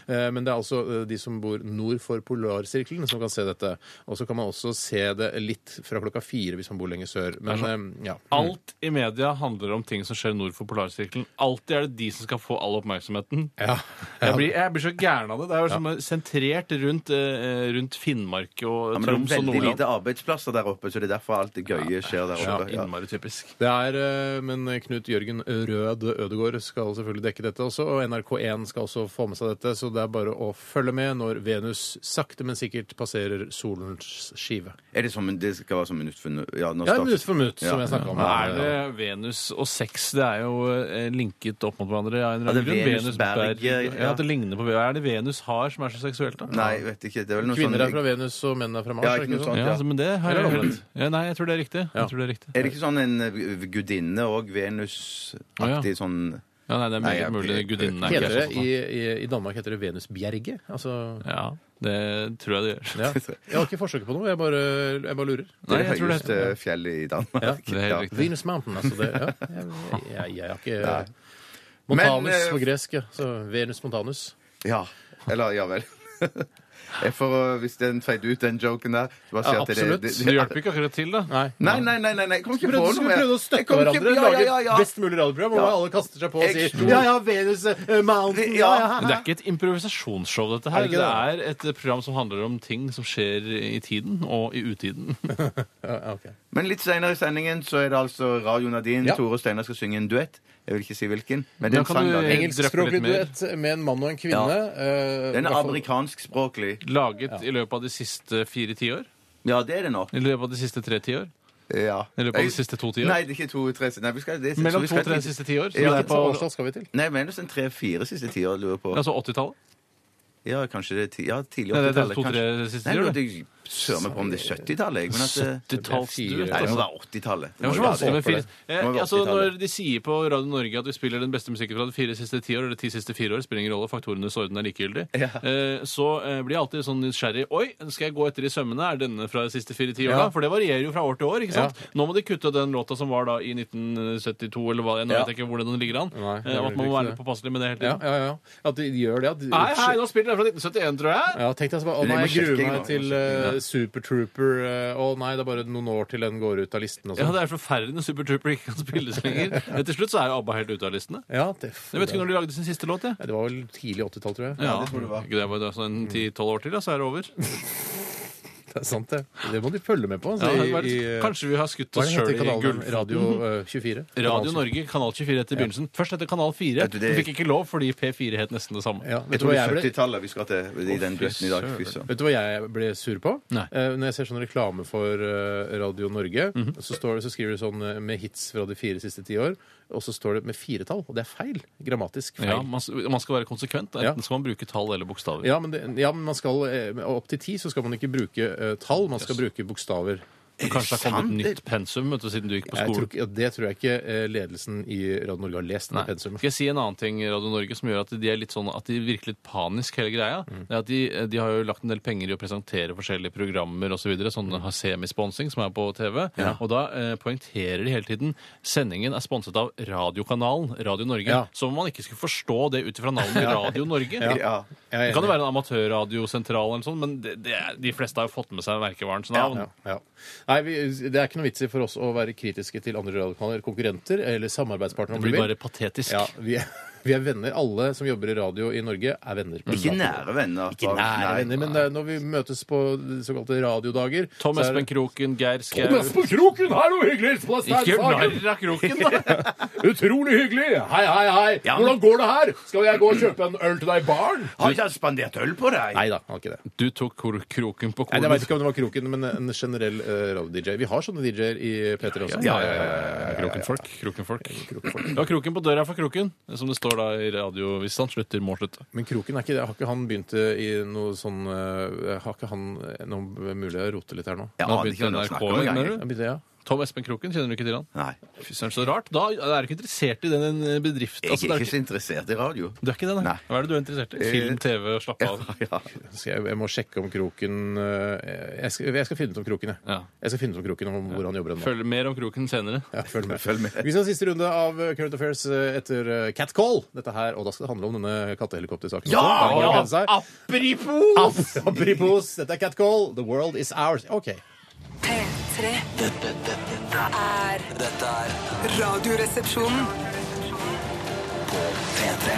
S4: Eh, men det er altså eh, de som bor nord for polarsirkelen, som kan se dette. Og så kan man også se det litt fra klokka fire hvis man bor lenger sør. Men eh, ja.
S3: Alt i media handler om ting som skjer nord for polarsirkelen. Alltid er det de som skal få all oppmerksomheten.
S4: ja.
S3: Jeg blir, jeg blir så gæren av det. Det er jo som sentrert rundt, eh, rundt Finnmark og
S5: Ja, men det er
S3: Troms og
S5: veldig
S3: Nordland.
S5: lite arbeidsplasser der oppe, så det er derfor alt det gøye skjer der
S3: Ja,
S5: oppe. Ja.
S3: innmari typisk.
S4: Det er, eh, Men Knut Jørgen Rød Ødegård skal selvfølgelig dekke dette også, og NRK1 skal også få med seg dette, så det er bare å følge med når Venus sakte, men sikkert passerer solens skive.
S5: Er det som, en- det skal være som minutt for minutt? Ja, nå
S4: Ja,
S5: starter-
S4: minutt for minutt, som
S5: Ja.
S4: jeg snakka om.
S3: Er det Venus og sex? Det er jo eh, linket opp mot hverandre. av en eller annen
S5: Ja, det er
S3: grunn.
S5: Venus, Berg,
S3: ja.
S5: ja.
S3: at det ligner på Hva er det Venus har som er så seksuelt, da?
S5: Nei, vet ikke. Det er vel noe
S4: Kvinner er
S5: sånn
S4: fra Venus, og menn er fra Mars.
S5: Ja,
S4: er det sånn?
S5: ikke noe sånn. sånt,
S3: Ja,
S5: ja.
S3: altså, men det har jeg
S4: Eller
S3: hørt.
S4: omvendt.
S3: Ja, nei, jeg tror det er riktig.
S4: Ja.
S3: Jeg tror det er riktig.
S5: Er det ikke sånn en eh, gudinne og Venus-aktig sånn
S3: Ja, nei, det er
S5: Nei,
S3: meget
S5: jeg-
S3: mulig. Gudinnen er
S4: Heter
S3: ikke
S4: det,
S3: sånn.
S4: i, i, I Danmark heter det Venusbjerget. Altså
S3: Ja, det tror jeg det gjør.
S4: ja. Jeg har ikke forsøket på noe, jeg bare, jeg bare lurer.
S5: Det
S3: Nei,
S5: er det
S3: jeg tror det
S5: høyeste fjellet i Danmark.
S4: Ja,
S3: Det er helt riktig.
S4: Venus Mountain, altså. Det, ja. jeg, jeg, jeg har ikke
S5: Men,
S4: Montanus
S5: eh,
S4: på gresk, ja. Så Venus Montanus.
S5: Ja. Eller ja vel. [laughs] Jeg får, eh, hvis den feide ut, den joken der så bare si
S4: Ja,
S5: at det-
S4: absolutt.
S5: det- det-
S3: Det hjelper ikke akkurat til, da.
S4: Nei.
S5: Nei, nei, nei. nei, nei. Jeg kom ikke
S4: Vi
S5: på
S4: prøvde,
S5: noe.
S4: skulle prøvde å
S5: Jeg
S4: støtte
S5: kom ikke-
S4: hverandre,
S5: ja, ja, ja,
S4: lage
S5: ja.
S4: et best mulig radioprogram hvor
S5: Ja.
S4: alle kaster seg på og
S5: Jeg
S4: sier
S5: sto-
S4: Ja, ja, Venus eh, Mountain ja, ja,
S3: Men det er ikke et improvisasjonsshow, dette
S4: Er
S3: her.
S4: det
S3: Det
S4: ikke
S3: er et program som handler om ting som skjer i tiden og i utiden. [laughs]
S4: ja, ok.
S5: Men litt senere i sendingen så er det altså Radio Nadine.
S4: Ja.
S5: Tore og Steinar skal synge en duett. Jeg vil ikke si hvilken, men det
S3: Da
S5: er en
S3: kan
S5: sang.
S3: du-
S5: da.
S3: Engel-
S5: Den
S4: Engelskspråklig
S3: litt mer.
S4: duett med en mann og en kvinne.
S5: Ja.
S4: eh,
S5: er
S4: i hvert fall-
S5: amerikanskspråklig.
S3: Laget i løpet av de siste fire tiår.
S5: Ja, det er det nok.
S3: I løpet av de siste tre tiår.
S5: Ja.
S3: I løpet av de siste to tiår.
S5: Nei, det er ikke to-tre Nei, vi skal, det, jeg tror
S3: Mellom to
S5: vi skal
S3: og tre
S5: til-
S3: siste tiår. Så
S5: Ja,
S3: det er
S4: Hvilket
S3: på
S4: årstall skal vi til?
S5: Nei, men det er sånn tre-fire siste tiår, lurer jeg på.
S3: altså 80-tallet.
S5: Ja, kanskje det er ti, ja, tidlig
S3: Nei, det er
S5: 80-tallet.
S3: to-tre
S5: kanskje.
S3: siste
S5: Nei,
S3: tiår,
S5: nå, det Sør meg på om det er 70-tallet. jeg, Men at det,
S3: 70-tallsduett.
S5: nei, det må
S3: altså.
S5: være 80-tallet.
S3: Det var så vanskelig med fire.
S5: Det må
S3: Eh,
S5: være
S3: altså,
S5: 80-tallet.
S3: når de sier på Radio Norge at vi spiller den beste musikken fra de fire siste ti år, eller ti siste fire år, spiller ingen rolle, faktorenes orden er likegyldig,
S5: Ja.
S3: eh, så eh, blir jeg alltid sånn nysgjerrig. Oi, skal jeg gå etter i sømmene? Er denne fra de siste fire ti
S4: Ja.
S3: åra? For det varierer jo fra år til år, ikke sant? Nå må de kutte den låta som var da i 1972, eller hva det Nå
S4: Ja.
S3: vet jeg ikke hvordan den ligger an.
S4: Nei, det
S3: eh,
S4: blir
S3: og at man
S4: ikke
S3: må være
S4: det.
S3: litt påpasselig med det hele
S4: Ja,
S3: tiden.
S4: ja, ja. At de gjør det. At
S3: Nei, hei, nå spiller er fra 1971, tror jeg.
S4: Ja, tenk deg så bare, Å
S5: Men jeg
S4: nei,
S5: må
S4: jeg gruer
S5: sjekke en
S4: meg
S5: gang,
S4: til
S5: jeg
S4: eh, Super Trooper. eh, Å nei, det er bare noen år til den går ut av listen. Og
S3: Ja,
S4: sånn.
S3: Det er forferdelig når Super Trooper ikke kan spilles lenger. Men til slutt så er jo ABBA helt ute av listene.
S4: Ja, det,
S3: Jeg vet ikke når de lagde sin siste låt. jeg.
S4: Nei, det var vel tidlig 80-tall, tror jeg. Mm.
S3: Ja, Ikke det, bare sånn 10-12 år til, da, så
S4: [laughs]
S3: er det over.
S4: Det er sant, det. Det må de følge med på. Altså,
S3: Ja,
S4: i,
S3: hva er
S4: i,
S3: det-
S4: eh,
S3: Kanskje vi har skutt
S4: hva er
S3: oss
S4: det
S3: sjøl
S4: heter
S3: i
S4: kanalen?
S3: gull.
S4: Radio eh, 24?
S3: Radio
S4: Kanal
S3: Norge, kanal 24 etter begynnelsen. Først etter kanal 4.
S5: Vet du, det-
S3: Vi fikk ikke lov fordi P4 het nesten det samme.
S4: Ja,
S5: Jeg
S4: vet, du
S5: tror
S4: hva
S5: det
S4: jeg
S5: er
S4: ble,
S5: 70-tallet vi skal til i den bøtten i dag. Fy søren.
S4: vet du hva jeg ble sur på?
S3: Nei.
S4: Eh, når jeg ser sånn reklame for eh, Radio Norge,
S3: Mhm.
S4: så, står det, så skriver du sånn eh, med hits fra de fire siste ti år, og så står det med firetall. Og det er feil. Grammatisk feil.
S3: Ja, man, man skal være konsekvent.
S4: Ja.
S3: Enten skal man bruke tall eller bokstaver.
S4: Ja, men, det, ja, men man skal, eh, opp til ti så skal man ikke bruke eh, tall, man skal bruke bokstaver.
S3: Men kanskje det har kommet
S5: sant?
S3: nytt pensum vet du, siden du gikk på
S4: Jeg tror,
S3: skolen.
S4: ikke- det tror jeg ikke eh, ledelsen i Radio Norge har lest.
S3: Nei.
S4: det pensumet.
S3: Skal jeg si en annen ting Radio Norge som gjør at de er litt sånn at de virker litt panisk hele greia?
S4: Mm.
S3: Det er at de, de har jo lagt en del penger i å presentere forskjellige programmer osv. Så videre, sånn
S4: Mm.
S3: har semisponsing som er på TV. Og da eh, poengterer de hele tiden sendingen er sponset av radiokanalen Radio Norge.
S4: Ja.
S3: Som om man ikke skulle forstå det ut
S4: [laughs]
S3: ifra navnet Radio Norge.
S4: Jeg
S5: Ja.
S4: er
S3: Det kan jo
S4: enig.
S3: være en amatørradiosentral, eller noe sånt, men det, det er, de fleste har jo fått med seg merkevarens
S4: Ja,
S3: navn.
S4: ja, ja. Nei, vi, det er ikke noe vits i for oss å være kritiske til andre radiokanaler, konkurrenter eller samarbeidspartnere.
S3: Det
S4: om
S3: blir
S4: du vil.
S3: bare patetisk.
S4: Ja, vi, er- [laughs] vi er venner. Alle som jobber i radio i Norge, er venner.
S5: Ikke nære venner. altså.
S4: Ikke nære venner, men det er når vi møtes på såkalte radiodager
S3: Tom
S4: så er-
S3: Espen Kroken, Geir Skau
S4: Tom Espen Kroken, hallo, hyggelig!
S3: Ikke gjør narr av Kroken, da!
S4: Utrolig hyggelig! Hei, hei, hei! Hvordan går det her? Skal jeg gå og kjøpe en øl til deg i baren?
S5: Har ikke han spandert øl på deg?
S4: Nei da, han har ikke det.
S3: Du tok kor kroken på
S4: Nei,
S3: kornet.
S4: Jeg veit ikke om det var Kroken, men en generell eh, radio-DJ. Vi har sånne DJ-er i P3 også.
S3: Ja, ja, ja, ja, ja. Krokenfolk. Krokenfolk. Du har kroken på døra for kroken, som det står da i radio hvis han slutter, må slutte.
S4: Men Kroken er ikke det. Har ikke han begynt eh, i noe sånn eh, Har ikke han eh, noe mulig å rote litt her nå?
S5: Jeg
S3: Nå
S5: aner ikke
S3: begynte
S5: hva du
S3: NRK,
S5: snakker om
S3: mener
S5: engang.
S3: du?
S4: Ja, begynte, ja.
S3: Tom Espen Kroken, kjenner du ikke til han?
S5: Nei.
S3: Fy søren, så rart. Da er du ikke interessert i den bedriften.
S5: Jeg
S3: Altså, det
S5: er
S3: er
S5: ikke
S3: ikke,
S5: så interessert i radio.
S3: du er ikke det, nei?
S5: Nei.
S3: Hva er det du er interessert i? Film, TV, slapp av.
S5: [laughs] Ja.
S4: Skal jeg, jeg må sjekke om Kroken eh, jeg skal, jeg skal finne ut om Kroken, jeg.
S3: Ja.
S4: Jeg skal finne ut om Kroken om hvor han jobber nå.
S3: Følg mer om kroken senere.
S4: Ja, følg med.
S5: Følg med.
S4: Vi skal ha siste runde av eh, Current Affairs eh, etter eh, Catcall. Dette her, og da skal det handle om denne kattehelikoptersaken.
S5: Ja!
S4: også. Da må man glede seg.
S3: Apripos!
S4: Apropos, dette er Catcall. The world is ours. OK.
S1: P3
S2: Dette, dette,
S1: er
S2: dette er
S1: Radioresepsjonen.
S2: P3.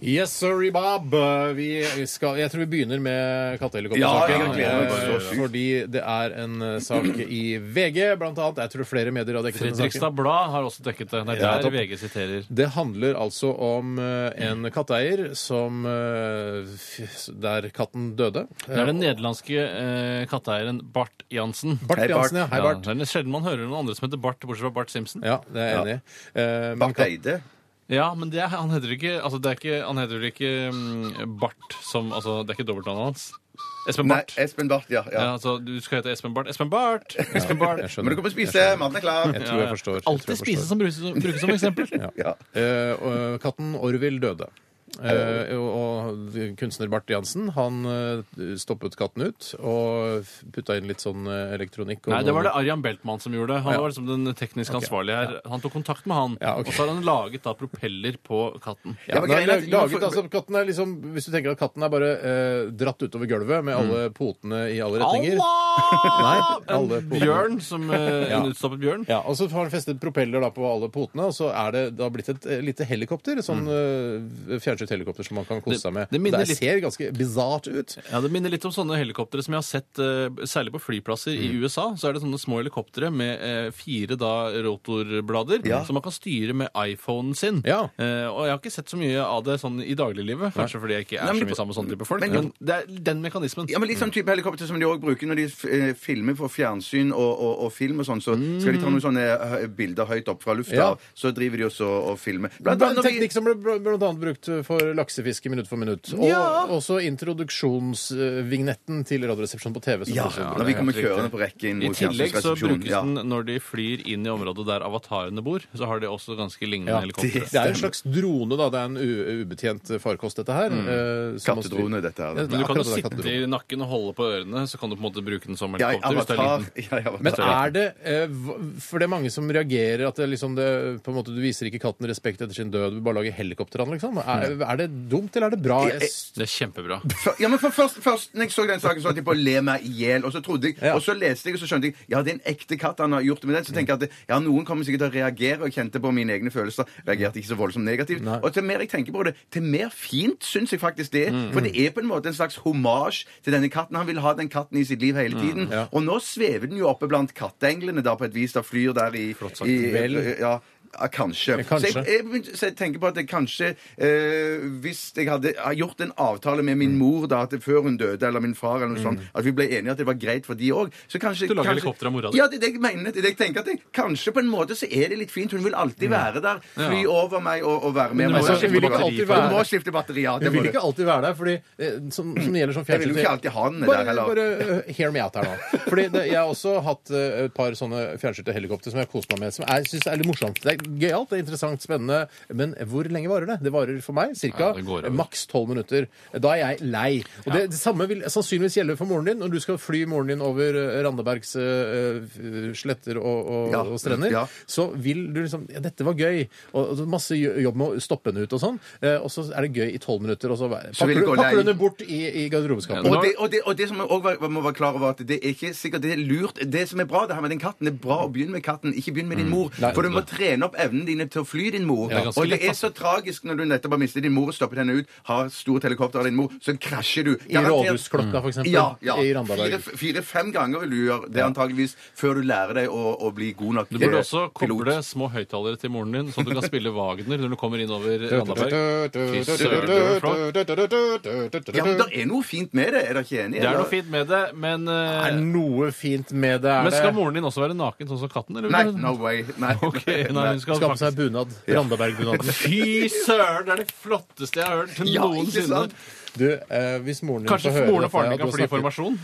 S4: Yes, sorry, Bob. Eh, Vi skal, jeg tror vi begynner med
S5: Ja, ja,
S4: kattehelikoptersaken.
S5: ja, ja,
S4: eh,
S5: ja, ja.
S4: fordi det er en eh, sak i VG, blant annet. Jeg tror flere medier har dekket denne saken.
S3: Fredrikstad Blad har også dekket det. Det er
S4: Ja,
S3: der
S4: topp.
S3: VG siterer.
S4: Det handler altså om eh, en katteeier som eh, f- Der katten døde.
S3: Det er den nederlandske eh, katteeieren Bart Jansen.
S4: Bart
S5: Hei, Bart.
S4: Jansen, ja. Hei, Bart.
S3: Ja, det er sjelden man hører noen andre som heter Bart, bortsett fra Bart Simpson.
S4: Ja,
S3: Ja,
S4: det er jeg enig i. Eh, men
S5: Barth
S4: kat-
S5: Eide.
S3: men det er, han heter ikke Altså, det er ikke Han heter vel ikke mm, Bart som Altså, det er ikke dobbeltnavnet hans. Espen
S5: Nei,
S3: Bart.
S5: Espen Barth, ja.
S3: ja.
S5: ja.
S3: altså, du skal hete Espen Bart. Espen Bart! Espen
S4: jeg
S3: Bart.
S4: skjønner.
S5: Må du komme og spise? Maten er klar.
S4: Jeg tror jeg forstår. Jeg tror
S3: Alltid
S4: jeg
S3: spise
S4: forstår.
S3: som brukes, brukes som
S4: [laughs]
S3: eksempel.
S5: [laughs] Ja.
S4: Eh, og katten Orville døde. Eh, og og kunstner Bart Jansen han eh, stoppet katten ut og putta inn litt sånn eh, elektronikk. Og
S3: Nei, det var det
S4: noe-
S3: Arian Beltmann som gjorde. Han
S4: Ja.
S3: var liksom den teknisk ansvarlige her. Han tok kontakt med han,
S4: Ja, ok.
S3: og så har han laget da propeller på katten.
S4: ja,
S5: men
S4: den er
S5: greia er at-
S4: laget, altså, katten er liksom, Hvis du tenker at katten er bare eh, dratt utover gulvet
S3: Mm.
S4: med alle potene i alle retninger
S3: [laughs] Allah!
S4: Nei, alle
S3: en
S4: på-
S3: bjørn som eh,
S4: Ja.
S3: En utstoppet bjørn.
S4: ja, Og så har han festet propeller da på alle potene, og så er det da blitt et eh, lite helikopter. Et
S5: Mm.
S4: sånn eh, fjernsynt helikopter som man kan kose
S3: Det-
S4: seg med.
S3: det
S4: Det,
S3: minner litt-
S4: ser ganske bisart ut.
S3: Ja, Det minner litt om sånne helikoptre som jeg har sett, eh, særlig på flyplasser i USA. Så er det sånne små helikoptre med eh, fire da rotorblader som man kan styre med iPhonen sin.
S4: Ja.
S3: Eh, og jeg har ikke sett så mye av det sånn i dagliglivet, kanskje fordi jeg ikke er
S5: Nei,
S3: så
S5: men du-
S3: mye sammen med sånne type folk.
S5: men
S3: Men,
S5: du-
S3: det er den mekanismen.
S5: Ja, men Litt sånn type helikopter som de også bruker når de eh, filmer for fjernsyn og, og, og film. og sånn, Så skal de ta
S3: Mm.
S5: noen sånne eh, bilder høyt opp fra lufta,
S4: Ja.
S5: av, så driver de også og filmer.
S4: Det
S5: Blant
S4: er en
S5: annet når vi-
S4: teknikk som ble bl- blant annet brukt for laksefiske minutt for minutt. Og også introduksjonsvignetten til Radioresepsjonen på TV. som
S5: Ja,
S4: også ble
S5: når vi
S4: brukt.
S5: kommer kjørende på rekken
S3: I
S5: mot
S3: tillegg så
S5: fjernsynsresepsjonen.
S3: brukes den når de flyr inn i området der avatarene bor. Så har de også ganske lignende
S4: Ja,
S3: helikoptre.
S4: Det er en slags drone, da. Det er en u ubetjent farkost, dette her. eh, som man styrer.
S5: Mm. Kattedrone, dette her.
S4: Ja, det er
S3: Men du kan jo
S4: akkurat det,
S3: sitte
S4: kattedrone.
S3: i nakken og holde på ørene, så kan du på en måte bruke den som
S5: Ja, i
S3: helikopter. hvis det er
S5: avatar.
S3: liten.
S5: [laughs] Ja, i avatar.
S4: Men er det eh, hva- For det er mange som reagerer at det er liksom det, på en måte, du viser ikke katten respekt etter sin død, du bare lager helikopter av den, liksom. Er, er det dumt, eller er det bra?
S5: Jeg-
S4: Jeg,
S3: Det er kjempebra.
S5: For, ja, men for først, først når jeg så den saken, så holdt jeg på å le meg i hjel. Og så trodde jeg,
S4: Ja.
S5: og så leste jeg, og så skjønte jeg ja, det er en ekte katt han har gjort det med den. Så tenker jeg at det- ja, noen kommer sikkert til å reagere. Og jeg kjente på mine egne følelser. Reagerte ikke så voldsomt negativt. Og til mer jeg tenker på det, til mer fint syns jeg faktisk det er.
S4: Mm.
S5: For det er på en måte en slags hommage til denne katten. Han vil ha den katten i sitt liv
S4: Mm,
S5: hele tiden. Og nå svever den jo oppe blant kattenglene da på et vis. Da flyr der i, i
S4: Vel.
S5: ja, ja, Kanskje.
S4: kanskje.
S5: Så jeg, jeg, begynte- så jeg tenker på at jeg kanskje eh, Hvis jeg hadde har gjort en avtale med
S3: Mm.
S5: min mor da, at det- før hun døde, eller min far, eller noe sånt, at vi ble enige at det var greit for de òg Du lager
S3: Du lager helikopter av mora di.
S5: Ja, det er det jeg mener. Det er det jeg tenker at jeg, Kanskje på en måte så er det litt fint. Hun vil alltid være der.
S3: Mm.
S5: Fly
S3: Ja.
S5: over meg og, og være med
S3: Men du
S5: meg.
S3: må skifte
S5: Hun vil
S3: batteri
S5: ikke
S3: for
S5: alltid være-
S3: det.
S5: Hun må skifte batteri, ja.
S4: jeg
S5: Det
S4: vil
S5: må det.
S4: ikke alltid være der, fordi eh, som, som det gjelder som
S5: Jeg vil jo
S4: fjernsyn
S5: ikke alltid ha den
S4: Bare,
S5: der heller.
S4: bare eh, hear me out her nå. Fordi det, Jeg har også hatt eh, et par sånne fjernsynte helikopter som jeg har kost meg med, som jeg syns er litt morsomt. Det er gøyalt, det er interessant, spennende, men hvor lenge varer det? Det varer for meg ca.
S3: Ja, det går over.
S4: maks tolv minutter. Da er jeg lei. Og det, det samme vil sannsynligvis gjelde for moren din når du skal fly moren din over eh, Randabergs eh, eh, sletter og, og,
S5: Ja.
S4: og strender.
S5: Ja.
S4: Så vil du liksom Ja, dette var gøy. Og, og masse jo- jobb med å stoppe henne ut og sånn. Eh, Og så er det gøy i tolv minutter, og så vær-
S5: Så vil
S4: pakker du
S5: det gå
S4: pakker du
S5: lei.
S4: henne bort i, i garderobeskapet.
S5: Og det, og, det, og det som jeg også må være klar over, at det er ikke sikkert det er lurt. Det som er bra, det her med den katten, det er bra å begynne med katten, ikke begynn
S3: Mm.
S5: med din mor.
S4: Nei,
S5: for du må
S3: det-
S5: trene opp evnene dine til å fly din mor.
S3: det er ganske
S5: og det
S3: lett, altså.
S5: er så tragisk når du nettopp har mistet din mor, stoppet henne ut, har stort helikopter av din mor, så krasjer du.
S4: I
S5: Garantert-
S4: Rådhusklokka, for eksempel.
S5: Ja, ja.
S4: I Randaberg.
S5: Fire- Fire-fem ganger vil du gjøre det antageligvis før du lærer deg å, å bli god nok
S3: Du burde
S5: eh,
S3: også koble små høyttalere til moren din, sånn at du kan spille Wagner når du kommer inn over Randaberg. Fy søren, det var
S5: Ja, men det er noe fint med det, er dere ikke enig?
S3: Det er
S5: eller?
S3: noe fint med det, men, eh,
S4: Er noe fint med det? Er
S3: men skal
S4: det-
S3: moren din også være naken, sånn som katten? Eller?
S5: Nei, no way. Nei.
S3: [laughs] Ok, nei, hun skal
S4: skal ha på seg
S3: faktisk...
S4: bunad. Randaberg-bunaden.
S3: Fy søren, det er det flotteste jeg har hørt
S5: Ja, ikke
S3: noensinne.
S5: sant?
S4: Du, eh, hvis moren din
S3: Kanskje
S4: får høre
S3: moren og
S4: at-
S3: faren din
S4: at du
S3: kan
S4: har
S3: fly i
S4: snakket-
S3: formasjon?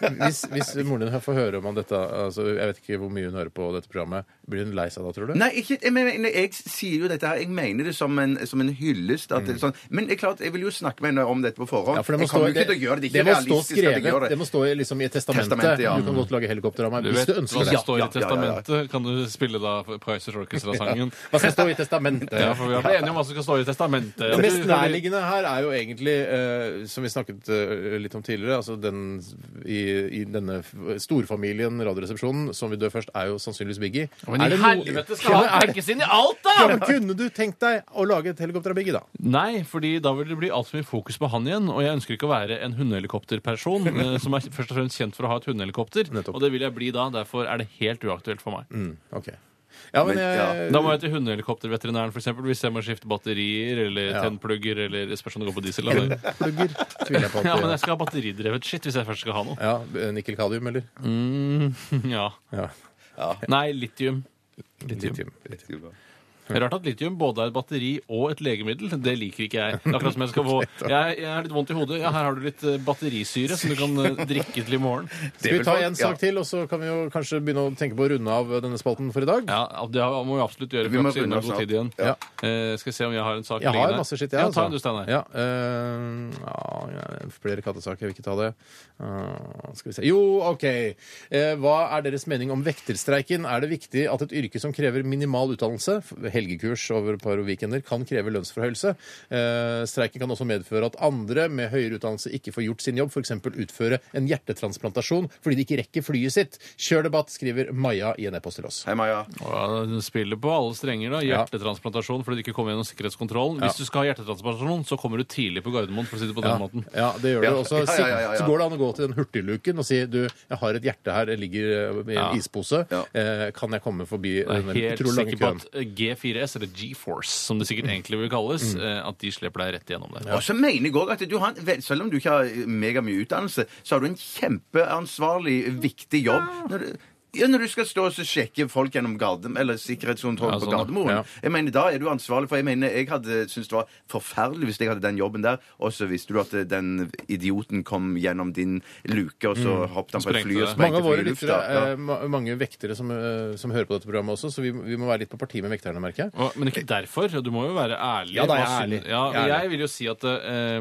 S4: hvis, hvis moren din får høre om han dette altså, Jeg vet ikke hvor mye hun hører på dette programmet. Blir hun lei seg da, tror du?
S5: Nei, ikke, jeg, mener, jeg sier jo dette her, jeg mener det som en, som en hyllest. At det, er sånn, men det er klart, jeg vil jo snakke med henne om dette på forhånd.
S4: Mm. Ja, for det må
S5: jeg
S4: stå,
S5: kommer jo ikke til å gjøre det. Det
S4: det
S5: er
S4: må
S5: ikke
S4: stå
S5: realistisk at
S4: skrevet.
S5: jeg gjør
S4: Det
S5: det.
S4: må stå i, liksom, i testamentet.
S5: Testamentet, ja.
S4: Du kan godt lage helikopter av meg
S3: Du
S4: hvis
S3: vet
S4: du
S3: hva
S4: ønsker
S3: som
S4: det.
S3: står i
S5: Ja, ja, ja, ja, ja.
S3: testamentet. Kan du spille da Prizers Orchestra-sangen?
S4: Hva skal stå i testamentet?
S3: Ja, for vi har blitt enige om hva som skal stå i testamentet.
S4: Det mest nærliggende her er jo egentlig, eh, som vi snakket eh, litt om tidligere, altså den i, i denne f- storfamilien Radioresepsjonen som vil dø først, er jo sannsynligvis Biggie.
S3: Men
S4: Er
S3: i
S4: det noe-
S3: helvete skal han
S4: Ja, men er det-
S3: trekkes inn i alt,
S4: Ja, men
S3: da!
S4: Kunne du tenkt deg å lage et helikopter av Biggie, da?
S5: Mm.
S3: Nei, fordi da vil det bli altfor mye fokus på han igjen. Og jeg ønsker ikke å være en
S4: [laughs]
S3: hundehelikopterperson eh, som er først og fremst kjent for å ha et hundehelikopter.
S4: Nettopp. Mm.
S3: Og det vil jeg bli da. Derfor er det helt uaktuelt for meg.
S4: Ok. Ja, men,
S5: Men,
S4: jeg,
S3: Da må jeg til hundehelikopterveterinæren, f.eks. Hvis jeg må skifte batterier eller
S4: Ja.
S3: tennplugger eller spørs om det går på diesel. Eller.
S4: [laughs] plugger tviler jeg på
S3: [laughs] Ja, men
S4: at
S3: jeg skal ha batteridrevet shit hvis jeg først skal ha
S4: [laughs]
S3: noe.
S4: ja, Nikkel Kadium, eller?
S3: Ja.
S4: Ja.
S3: Nei, litium. Litium.
S4: Litium.
S3: Rart at litium både er et batteri og et legemiddel. Det liker ikke jeg. Det er Akkurat som jeg skal
S4: [laughs]
S3: få Jeg, jeg har litt vondt i hodet. Ja, her har du litt eh, batterisyre som du kan
S4: [laughs]
S3: eh, drikke til i morgen.
S4: Skal vi ta
S5: folk-
S4: en sak
S5: ja.
S4: til, og så kan vi jo kanskje begynne å tenke på å runde av denne spalten for i dag?
S3: Ja, det må vi absolutt gjøre.
S5: Vi
S3: for
S5: må
S3: at siden
S5: begynne
S3: det er god
S5: snart.
S3: tid igjen.
S4: Ja.
S3: Eh, skal vi se om jeg har en sak
S4: Jeg har
S3: liggende.
S4: masse skitt, jeg.
S3: Ja, ta
S4: altså.
S3: en du, Steinar.
S4: Ja, eh, ja, ja, flere kattesaker. Jeg vil ikke ta det. Eh, skal vi se Jo, OK. Eh, hva er deres mening om vekterstreiken? Er det viktig at et yrke som krever minimal utdannelse, helgekurs over et par weekender, kan kreve lønnsforhøyelse? Eh, streiken kan også medføre at andre med høyere utdannelse ikke får gjort sin jobb, f.eks. utføre en hjertetransplantasjon fordi de ikke rekker flyet sitt. Kjør debatt, skriver Maja i en e-post til oss.
S5: Hei, Maja.
S3: Ja, eh, den spiller på alle strenger. da Hjertetransplantasjon fordi du ikke kommer gjennom sikkerhetskontrollen. Hvis du skal ha hjertetransplantasjon, så kommer du tidlig på Gardermoen. for å si det på den måten
S4: Ja, det gjør det.
S5: Ja.
S4: Og så
S5: Ja, ja, ja, ja, ja.
S4: så går det an å gå til den hurtigluken og si du, jeg har et hjerte her, det ligger eh, i en
S3: Ja.
S4: ispose,
S5: Ja.
S4: eh, kan jeg komme forbi
S3: Jeg
S4: den
S3: er helt
S4: utrolig lange
S3: sikker på
S4: køen?
S3: at G4S, eller G-Force, som det
S4: [clears throat]
S3: sikkert egentlig vil kalles,
S4: Mm.
S3: eh, at de slipper deg rett igjennom der.
S5: Og så mener jeg også at du har, en- vel, selv om du ikke har eh, mega mye utdannelse, så har du en kjempeansvarlig, viktig jobb. Når du, ja, når du skal stå og så sjekke folk gjennom garden, eller sikkerhetskontroll
S3: Ja,
S5: på
S3: sånn, ja.
S5: Gardermoen.
S4: Ja.
S5: Jeg mener, Da er du ansvarlig, for jeg mener, jeg hadde syntes det var forferdelig hvis jeg hadde den jobben der, og så visste du at eh, den idioten kom gjennom din luke, og så hoppet han på et
S3: Mm. Sprengte
S5: fly og
S3: det.
S5: sprengte
S4: Mange av våre
S5: flyet i lufta.
S4: lyttere,
S5: Ja.
S4: eh, ma- mange vektere som, eh, som hører på dette programmet også, så vi, vi må være litt på parti med vekterne, merker jeg.
S3: Og, men ikke derfor. Du må jo være ærlig.
S4: Ja, da, jeg er
S3: Hva syn-
S4: ærlig.
S3: Ja,
S4: Jeg er
S3: og
S4: ærlig.
S3: jeg vil jo si at eh,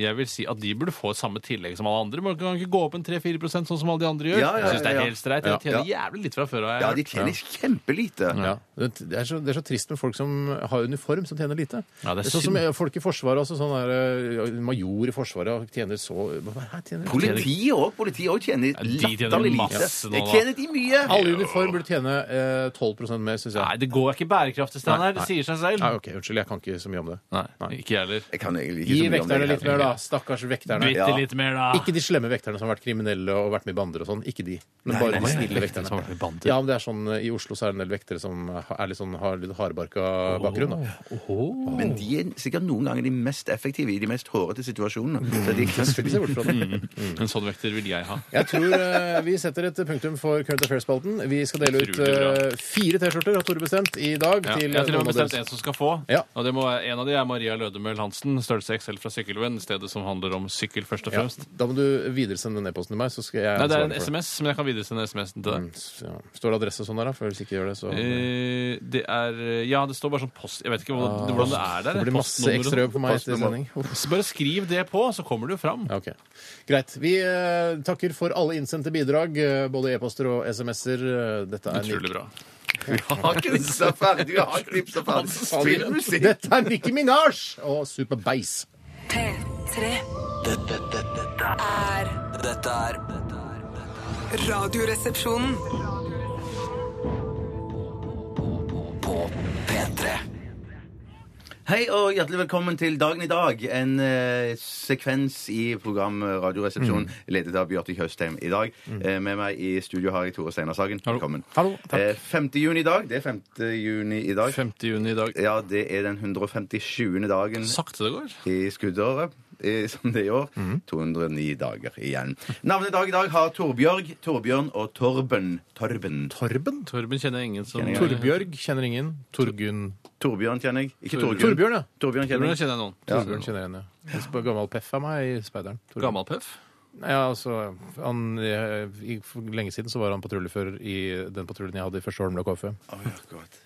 S3: Jeg vil si at de burde få samme tillegg som alle andre. Man kan ikke gå opp en 3-4 sånn som alle de andre gjør.
S5: Ja, ja,
S3: jeg syns det
S5: ja,
S3: er
S5: ja.
S3: helt streit.
S4: Ja.
S3: Jeg tjener jævlig litt fra før av.
S5: Ja, de
S3: jeg har hørt.
S5: tjener kjempelite.
S4: Ja. Det, er så, det er så trist med folk som har uniform, som tjener lite.
S3: Ja, det er
S4: sånn som
S3: synd.
S4: eh, folk i Forsvaret også. Sånn der, eh, major i Forsvaret tjener så Hva er det her tjener
S5: Politiet òg. Politiet også
S3: de
S5: tjener
S3: tjener
S5: latterlig lite.
S3: masse nå,
S5: Jeg
S3: da.
S5: tjener de mye.
S4: Alle i uniform burde tjene eh, 12 mer, syns jeg.
S3: Nei, det går ikke bærekraftig, Steinar.
S4: Nei,
S3: Det sier seg selv.
S4: Nei, ok, Unnskyld, jeg kan ikke så mye om det.
S3: Nei, ikke jeg heller.
S5: Jeg kan egentlig ikke
S4: Gi
S5: så mye om
S4: vekterne
S5: det.
S4: litt mer, da. Stakkars vekterne.
S3: Bitte
S5: Ja.
S3: litt mer, da.
S4: Ikke de slemme vekterne som har vært kriminelle og vært med i bander og sånn. Ikke de. Men bare de snille vekterne.
S3: som har vært med i bander.
S4: Ja, men det er sånn, eh, I Oslo så er det en del vektere som er litt sånn, har litt hardbarka bakgrunn. da.
S5: Men de er sikkert noen ganger de mest effektive i de mest hårete situasjonene. Så Mm. [laughs] de kan
S4: Skal ikke se bort fra det.
S3: En sånn vekter vil jeg ha.
S4: Jeg tror eh, vi setter et punktum for Current Affairs-spalten. Vi skal dele ut
S3: Utrolig
S4: eh, fire T-skjorter, har Tore bestemt, i dag.
S3: Ja.
S4: til
S3: jeg har til og
S4: noen
S3: med
S4: av
S3: bestemt
S4: dere-
S3: en som skal få.
S4: Ja.
S3: Og det må være, En av de er Maria Lødemøl Hansen, størrelse XL fra Sykkelvenn. Stedet som handler om sykkel, først og
S4: ja,
S3: fremst.
S4: Da må du videresende den e-posten til meg, så skal jeg
S3: Nei, det er en
S4: ansvarlig for
S3: SMS, men jeg kan videresende SMS-en til deg.
S4: Mm, s- Ja. Står det adresse og sånn der, da? For hvis ikke gjør det, så
S3: Eh, Det er Ja, det står bare sånn post Jeg vet ikke hvordan, hvordan det er der.
S4: Ah, Det blir masse
S3: postnummeret.
S4: ekstra jobb for meg etter
S5: Postnummer.
S4: sending. Uff.
S3: Så bare skriv det på, så kommer det jo fram.
S4: Ja, ok. Greit. Vi eh, takker for alle innsendte bidrag, eh, både e-poster og SMS-er. Eh, Dette er
S3: Utrolig bra.
S5: har knipsa ferdig. Du har knipsa ferdig. Spill musikk.
S4: Dette er Nicki Minaj og Super Bass.
S1: P3
S2: Dette, dette, dette,
S1: er
S2: dette er dette er- dette er
S1: Radioresepsjonen.
S2: På P3
S5: Hei og hjertelig velkommen til Dagen i dag. En eh, sekvens i program eh, Radioresepsjonen ledet av Bjarte Tjøstheim i dag. Eh, med meg i studio har jeg Tore Steinar Sagen. Velkommen.
S4: Hallo, takk.
S5: Eh, 5. juni i dag. Det er 5. juni i dag.
S3: 5. juni i dag.
S5: Ja, det er den 157. dagen
S3: Sakte det går.
S5: i skuddåret. eh, Som det er i år. 209 dager igjen. Navnet i dag i dag har Torbjørg, Torbjørn og Torben. Torben.
S4: Torben?
S3: Torben kjenner jeg ingen som
S5: Kjenner jeg.
S4: Torbjørg kjenner ingen. Torgunn
S5: Torbjørn kjenner jeg. Ikke Torgunn.
S4: Torbjørn, ja.
S5: Torbjørn kjenner
S3: Torbjørn
S5: jeg.
S3: kjenner jeg noen.
S4: Torbjørn kjenner jeg henne. Jeg husker bare Gammel Peff av meg i Speideren. Torbjørn.
S3: Gammel Pøff.
S4: Ja, altså, han, jeg, i, For lenge siden så var han patruljefører i den patruljen jeg hadde i første Holmlia KFU.
S5: Å, ja, godt.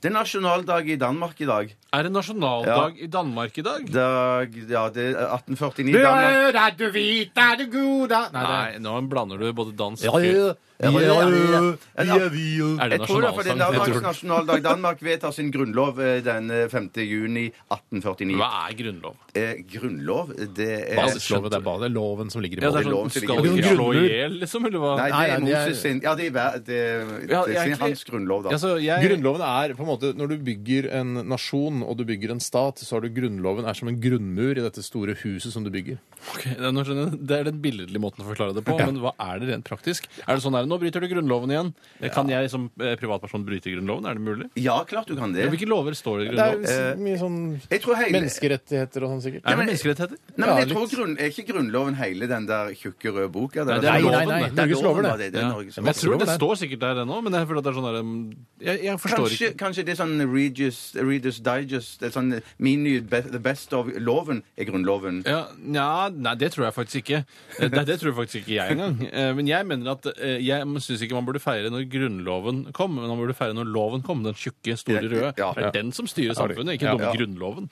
S5: Det er nasjonaldag i Danmark i dag.
S3: Er det nasjonaldag i Danmark i dag?
S5: dag ja, det er 1849 Danmark.
S4: er du hvit, er du god Nei,
S3: Nei, nå blander du både dans
S4: Ja,
S3: og
S4: ja, ja, ja, ja, ja, ja,
S3: Er det
S5: Jeg tror det, for det er
S3: nasjonalsang?
S5: Danmarks nasjonaldag. Danmark vedtar sin grunnlov eh, den eh, 5. juni 1849.
S3: Hva er grunnlov?
S5: Eh, grunnlov, det er
S4: Basisloven, det er bare det er loven som ligger i
S3: Ja,
S4: båten.
S3: det er sånn,
S5: loven
S3: Skal
S5: til ikke-
S4: Det
S3: du
S4: er noen
S3: slå i
S4: grunner.
S3: hjel, liksom? Eller hva?
S5: Nei, det
S4: Nei,
S5: er
S4: nei, det er-
S5: Moses sin Ja, det er, hver- det, det
S3: Ja,
S5: er sin-
S3: egentlig-
S5: hans grunnlov, da.
S3: Ja, så altså, jeg-
S4: Grunnloven er på en måte, Når du bygger en nasjon og du bygger en stat, så har du Grunnloven er som en grunnmur i dette store huset som du bygger.
S3: Ok, det er- nå skjønner jeg. det er den billedlige måten å forklare det på, men hva er det rent praktisk? Er det sånn her, Nå bryter du Grunnloven igjen. Kan jeg som eh, privatperson bryte Grunnloven? Er det mulig?
S5: Ja, klart du kan det.
S3: Hvilke lover står det i
S4: Det er
S3: Grunnloven?
S4: så mye sånn
S5: Jeg tror hele-
S4: menneskerettigheter og sånn sikkert.
S3: Er det menneskerettigheter?
S5: Nei, men
S4: Ja,
S5: jeg tror
S4: litt.
S5: grunn, Er ikke Grunnloven hele den der tjukke røde boka?
S3: Nei,
S5: Der?
S3: det er Nei, loven, nei,
S4: nei, det. Norges lover,
S5: da,
S4: det.
S5: det er
S3: Ja.
S5: Norges
S3: Men Jeg
S5: lover.
S3: tror
S4: Loven
S3: det
S4: er-
S3: står sikkert der ennå, men jeg føler at det er sånn der, mm, Jeg, jeg forstår
S5: Kanskje,
S3: ikke.
S5: kanskje det er sånn Readers, Readers Digest det er sånn Mini be, The Best of Loven er Grunnloven.
S3: Ja, nja, nei, det tror jeg faktisk ikke. Eh, Nei, det tror jeg faktisk ikke jeg engang. Eh, Men jeg mener at eh, jeg syns ikke man burde feire når Grunnloven kom, men man burde feire når loven kom, den tjukke, store røde.
S5: Ja.
S3: Det er den som styrer
S4: Ja, det-
S3: samfunnet, ikke
S4: ja.
S3: dumme Grunnloven.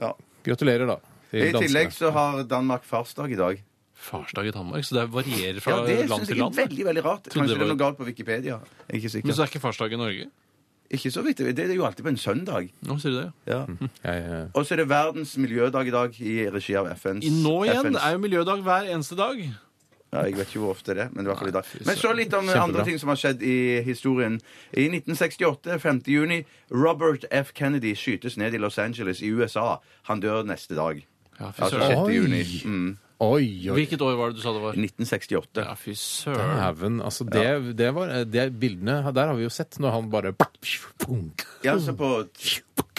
S5: Ja.
S4: Gratulerer, da. til
S5: I tillegg
S4: danskene.
S5: så har Danmark farsdag i dag.
S3: Farsdag i Danmark, så det varierer fra
S5: Ja, Det
S3: land
S5: syns
S3: til
S5: jeg er
S3: land.
S5: veldig veldig rart.
S3: Trodde
S5: Kanskje
S3: det
S5: det er
S3: var-
S5: noe galt på Wikipedia. Jeg er Ikke
S3: Men
S5: sikker.
S3: så er ikke farsdag i Norge?
S5: Ikke så vidt. Det det er jo alltid på en søndag.
S3: Nå sier du det, ja.
S5: Ja.
S4: Jeg, eh,
S5: Og så er det verdens miljødag i dag i regi av FNs
S3: I nå igjen
S5: FNs
S3: er jo miljødag hver eneste dag.
S5: Ja, jeg vet ikke hvor ofte det er, men det var i hvert fall i dag.
S3: fy
S5: Men så
S3: søren.
S5: litt om
S4: Kjempebra.
S5: andre ting som har skjedd i historien. I 1968, 5. juni, Robert F. Kennedy skytes ned i Los Angeles i USA. Han dør neste dag.
S3: Ja, fy
S5: Altså
S3: søren.
S5: 6.
S4: Oi.
S5: juni. Mm,
S4: Oi, oi.
S3: Hvilket år var det du sa det var?
S5: 1968.
S3: Ja, fy søren.
S4: Dæven. Altså, det, det var det bildene Der har vi jo sett når han bare
S5: Ja, så på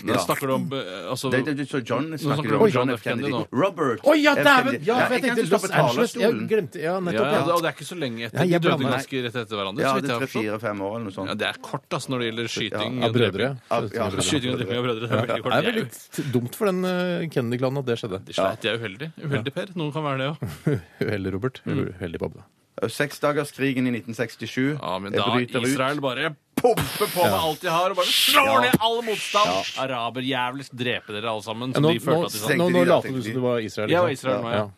S3: Da snakker du om eh, altså,
S5: det, det, det, så John snakker
S3: snakker
S5: du
S3: du om
S5: om John
S3: John
S5: F. Kennedy.
S3: nå.
S5: Robert
S4: Å ja,
S5: F.
S4: dæven!
S5: Kennedy.
S4: Ja, for jeg
S5: Nei,
S4: tenkte
S5: ikke han som
S4: Los
S5: står på
S4: Angeles. Jeg
S5: talerstolen.
S4: glemte Ja,
S3: ja, ja,
S4: nettopp.
S3: og det er ikke så lenge etter.
S4: Nei,
S3: De
S4: jeg
S3: døde
S4: blander.
S3: ganske rett etter hverandre.
S5: Ja,
S3: så vidt
S5: det
S3: jeg
S5: er
S3: har forstått.
S5: fire-fem år eller noe
S3: Ja,
S5: sånn.
S3: det er kort altså, når det gjelder skyting
S4: Ja,
S3: og
S4: brødre.
S3: dreping.
S5: Av- ja.
S3: Skyting og dreping av brødre. Det er veldig
S4: Det
S3: kort.
S4: er
S3: Det
S4: vel
S3: er,
S4: litt dumt for den eh, Kennedy-klanen at det skjedde.
S3: jo- Sleit, det er uheldig. Uheldig, Per. Noen kan være det òg.
S4: [laughs] Uheldig, Robert.
S3: Mm.
S4: Uheldig, Bobbe.
S5: Seksdagerskrigen i 1967
S3: Ja, men
S5: eh,
S3: da
S5: bryter ut.
S3: Israel bare pumper på med alt de har og bare slår ned all motstand! Araberjævlig dreper dere alle sammen. Som
S4: nå,
S3: de sånn- følte at de sa.
S5: tenkte
S4: nå, sånn. nå
S5: de da,
S4: later du
S5: tenkte
S4: som
S5: de.
S4: du var Israel.
S3: Jeg
S4: ikke
S3: var
S4: sant?
S3: Israel nå, ja.